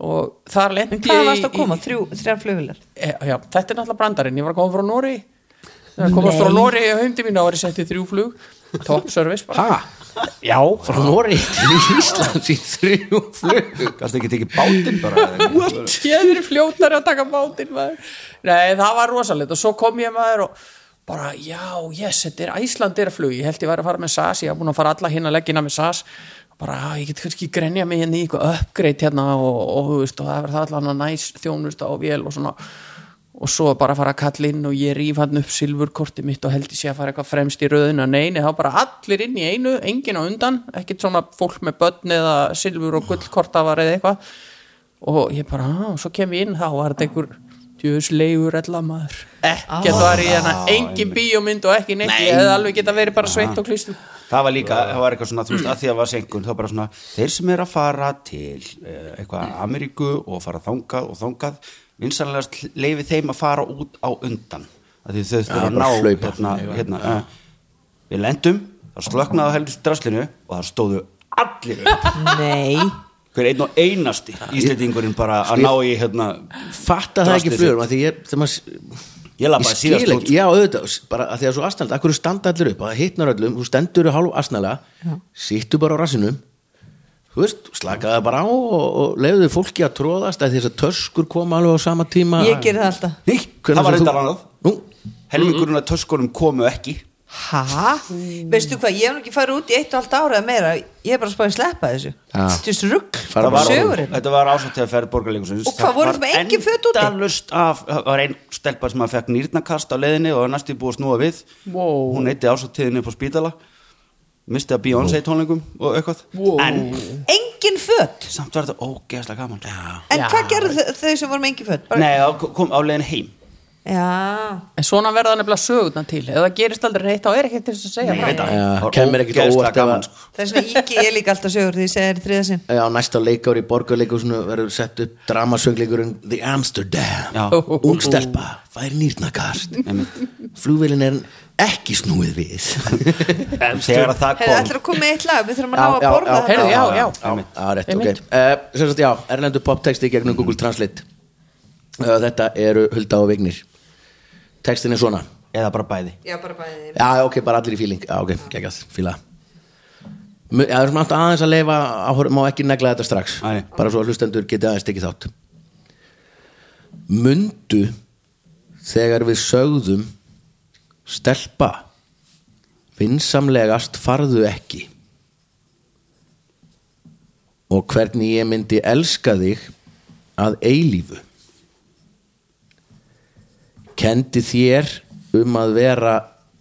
og þar lendi en hvað varstu að koma þrjú, þrjár flugvilar E, já, þetta er náttúrulega brandarinn, ég var að koma frá Nóri Þegar komast frá Nóri í hundi mín og var ég sett í þrjú flug Top service bara Ha? Já Frá Nóri til Íslands í þrjú flug Gast ekki tekið bátinn bara eða eitthvað? Ég er fljótari að taka bátinn maður Nei, það var rosalegt og svo kom ég maður og bara, já, yes, þetta er Æslandirflug Ég held ég væri að fara með SAS, ég var búin að fara alla hinn að leggina með SAS bara, "Ah, ég get kannski grenja mig hérna í eitthvað uppgreitt hérna og, og, þú veist, og það verður það allan að næs þjónusta og vél og svona og svo bara að fara að kalla inn og ég rýf hann upp silfurkortið mitt og held ég sé að fara eitthvað fremst í röðuna neini, þá bara allir inn í einu engin á undan, ekkit svona fólk með börn eða silfur og gullkortafar eða eitthvað og ég bara, "Ah," og svo kem ég inn þá var þetta einhver djöðslegur ellamaður ekkert var ég hérna, engin bíómynd og ekki neitt, ég hefði alveg geta verið bara sveitt og klýstu Það var líka, það var eitthvað svona, þú veist, að því að var senkun þá bara svona, þeir sem er að fara til eh, eitthvað Ameríku og fara þangað og þangað, vinsanlegast leifi þeim að fara út á undan að því þau þurfa að bara ná hlaupa. hérna, hérna, eh, við lendum það slöknaði á heldur draslinu og það stóðu allir upp nei hver einn og einasti íslendingurinn bara að ná í hérna Fatta það ekki Drastið flugur Því ég, þegar maður ég lappaði Ég síðast skil út ekki, já auðvitað s- bara að því að svo astanlega, akkur standa allir upp að það hittnar öllum, þú stendur hálf astanlega sittu bara á rassinum þú veist, slakaðu bara á og, og leiðu fólki að tróðast að þess að töskur koma alveg á sama tíma ég gerði það alltaf Nei, Hvenær það var sem þú- reyndar annað Nú, helmingurinn að töskunum komu ekki Hæ? Veistu hvað, ég hef nú ekki farið út í eitt og allt ára eða meira, ég hef bara spáðið að sleppa þessu Já. Þetta er svo rugg, Fara bara- sögurinn Þetta var ásamt þegar ferð borgarleikusins Og hvað, voruð þið með engin föt úti? Endalust af, það var einn stelpa sem að fekk nýrnakast á leiðinni og var næstu búið að snúa við Wow. Hún eitti ásamt tíðinni upp á spítala Misti að Beyoncé tónlingum og eitthvað En Engin föt samt var þetta ógeðslega gaman Já. En hvað gerðu þau, þau sem voru með engin föt? Bara... Nei, á- kom á leiðin heim Já, en svona verða nefnilega sögurnar til ef það gerist aldrei neitt, þá er ekki til þess að segja frá. Þetta Já, var kemur ekkert ógeðslega óvart ef gaman, að- sko. þess vegna íki ég líka alltaf sögur því ég segi þér þriða sinn já, næsta leikár í borgarleikusinu verður sett upp dramasöngleikurinn The Amsterdam Já. Ungstelpa, fær nýrnakast flugvélin er ekki snúið við Þegar að það kom Hefur ætlar að koma með eitt lag, við þurfum að ná að já. borða þetta Heyrðu, já, já. einmitt. Já, rétt, ok Einmitt. uh, Sem sagt, já, erlendu poptexti gegnum Google Translate uh, Þetta eru Hulda og Vignir Textin er svona Eða bara bæði Já, bara bæði Já, ok, bara allir í fíling Já, ok, geggjað, fíla Mu- Já, það er svona alltaf aðeins að leifa áhorf- Má ekki negla þetta strax Nei, nei. Bara svo að hlustendur geti aðeins tekið þátt Mundu Þegar við sögðum Stelpa Vinsamlegast farðu ekki og hvernig ég myndi elska þig að eilífu kendi þér um að vera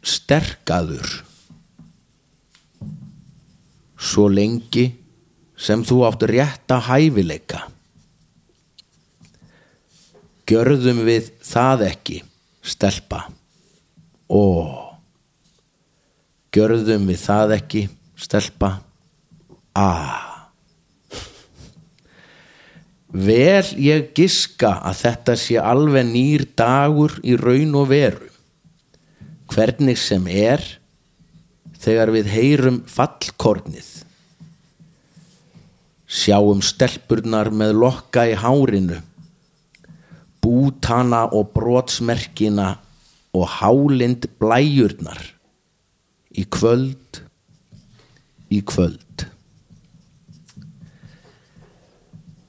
sterkaður svo lengi sem þú átt rétta hæfileika gjörðum við það ekki stelpa ó gjörðum við það ekki stelpa a Vel ég giska að þetta sé alveg nýr dagur í raun og veru. Hvernig sem er, þegar við heyrum fallkornið. Sjáum stelpurnar með lokka í hárinu, bútana og brotsmerkina og hálind blæjurnar. Í kvöld, í kvöld.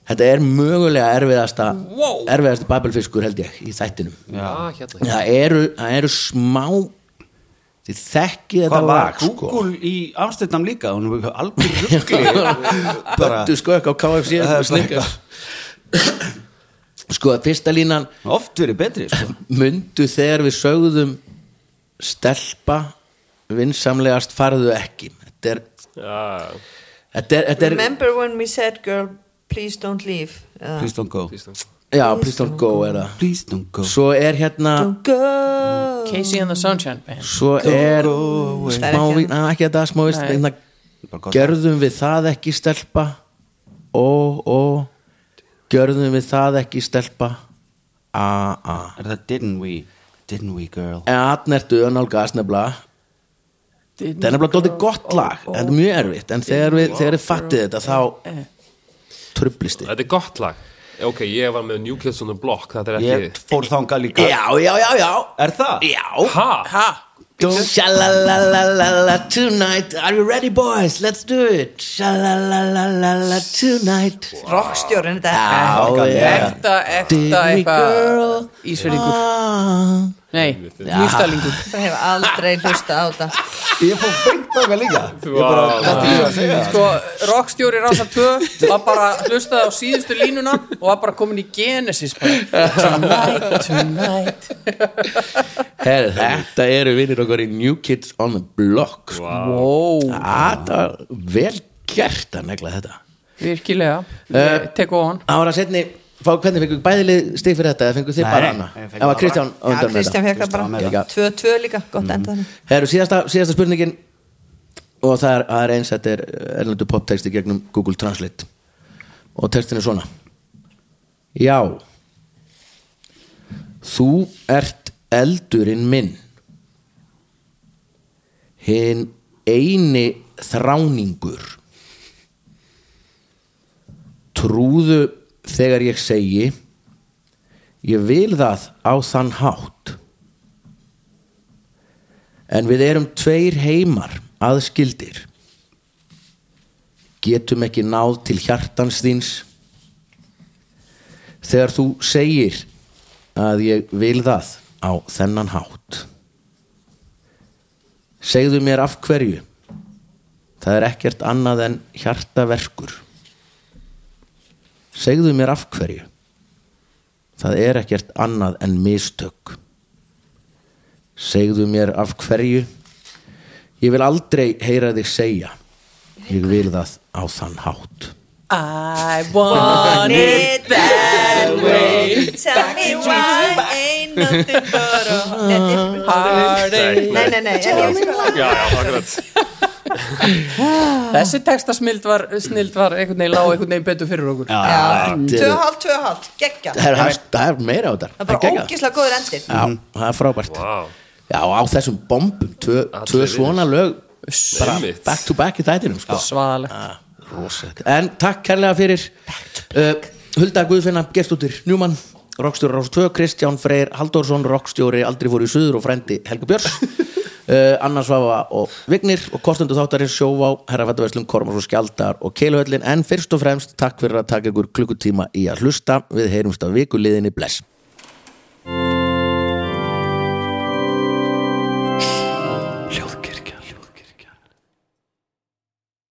Þetta er mögulega erfiðasta Wow. erfiðasta babelfiskur held ég í þættinum Já, hérna það eru, það eru smá þið þekkið þetta Hvað var lag sko Google í Amstendam líka? Hún er alveg ruggli Bara Böttu sko ekki á KFC Það er bara snickers. sko að fyrsta línan oft verið betri sko. mundu þegar við sögðum stelpa vinsamlegast farðu ekki þetta er, Já, þetta er, þetta er Remember when we said girl please don't leave uh, Please don't go víst það. já, please don't go er það Please don't go svo er hérna Don't go Casey and the Sunshine Band svo er Það er smá ekki vín, að ekki þetta smá vín Nei. hérna, Bara gott. gerðum við það ekki stelpa ó, ó gerðum við það ekki stelpa a, a Er það didn't we Didn't we girl en aðnertu að nálgast nefnilega það er nefnilega dóttir gott lag þetta er mjög erfitt, en þegar við, þegar við fattið þetta þá trublist þið Þetta er gott lag Ok, ég var með New Kids on the Block Þetta er Ég ekki fór þangað líka já, já, já, já, Er það? já Ha? Ha? Sha-la-la-la-la-la tonight Are you ready boys? Let's do it Sha-la-la-la-la-la tonight Rockstjórinn þetta Já, já Ekta, ekta Did we girl? eitthvað Ísverðingur Ah. Nei, nýstalingur Ég hef aldrei hlusta á þetta Ég fór beint þangað líka Ég Vá. bara Þetta er að segja Sko, rockstjóri rása 2 var bara hlustaði á síðustu línuna og var bara komin í Genesis bara. Tonight, tonight Her, þetta eru vinnir okkar í New Kids on the Block sko. Wow, Þetta var vel gert að negla þetta virkilega Ég Tek á hann Ára setni, fá, hvernig fengur bæðilið stig fyrir þetta eða fengur þið Nei, bara nei, hana ég fengi Það var bara Kristján á Já, undan með Kristján þetta fekk það Kristján með bara það. 2-2 líka, gott enda þannig Her, síðasta, síðasta spurningin og það er, það er eins þetta er eh, erlendu poptexti gegnum Google Translate og textin er svona Já Þú ert eldurinn minn hinn eini þráningur trúðu þegar ég segi ég vil það á þann hátt en við erum tveir heimar aðskildir getum ekki náð til hjartans þíns þegar þú segir að ég vil það á þennan hátt segðu mér af hverju það er ekkert annað en hjartaverkur segðu mér af hverju það er ekkert annað en mistök segðu mér af hverju ég vil aldrei heyra þig segja ég vil það á þann hátt I want it that way Tell me why ain't nothing but a Nei, heartache Nei, nei, nei, en ég sko Já, já, akkurat Þessi textasmild var, snild var einhvern veginn lág einhvern veginn betur fyrir okkur Já, þetta er- 2,5, 2,5, geggja það er, hæst- það er meira á þetta Það er bara ógíslega góður endir já, það er frábært Vá. já, og á þessum bombum, tvö, Allir tvö vinir. svona lög bara Einmitt. back to back í þættinum sko. Svaðalegt Ah, rosalegt. en takk kærlega fyrir uh, Hulda Guðfinna, gestúttir Njúmann Rokkstjóri Rás 2, Kristján Freyr Halldórsson, Rokkstjóri Aldrei fór í suður og frendi Helga Björns uh, Anna Svafa og Vignir og kostendu þáttarins sjóvá, herrafættaverslum Kormars og Skjaldar og Keiluhöllin en fyrst og fremst takk fyrir að taka ykkur klukkutíma í að hlusta við heyrumst að vikuliðinni bless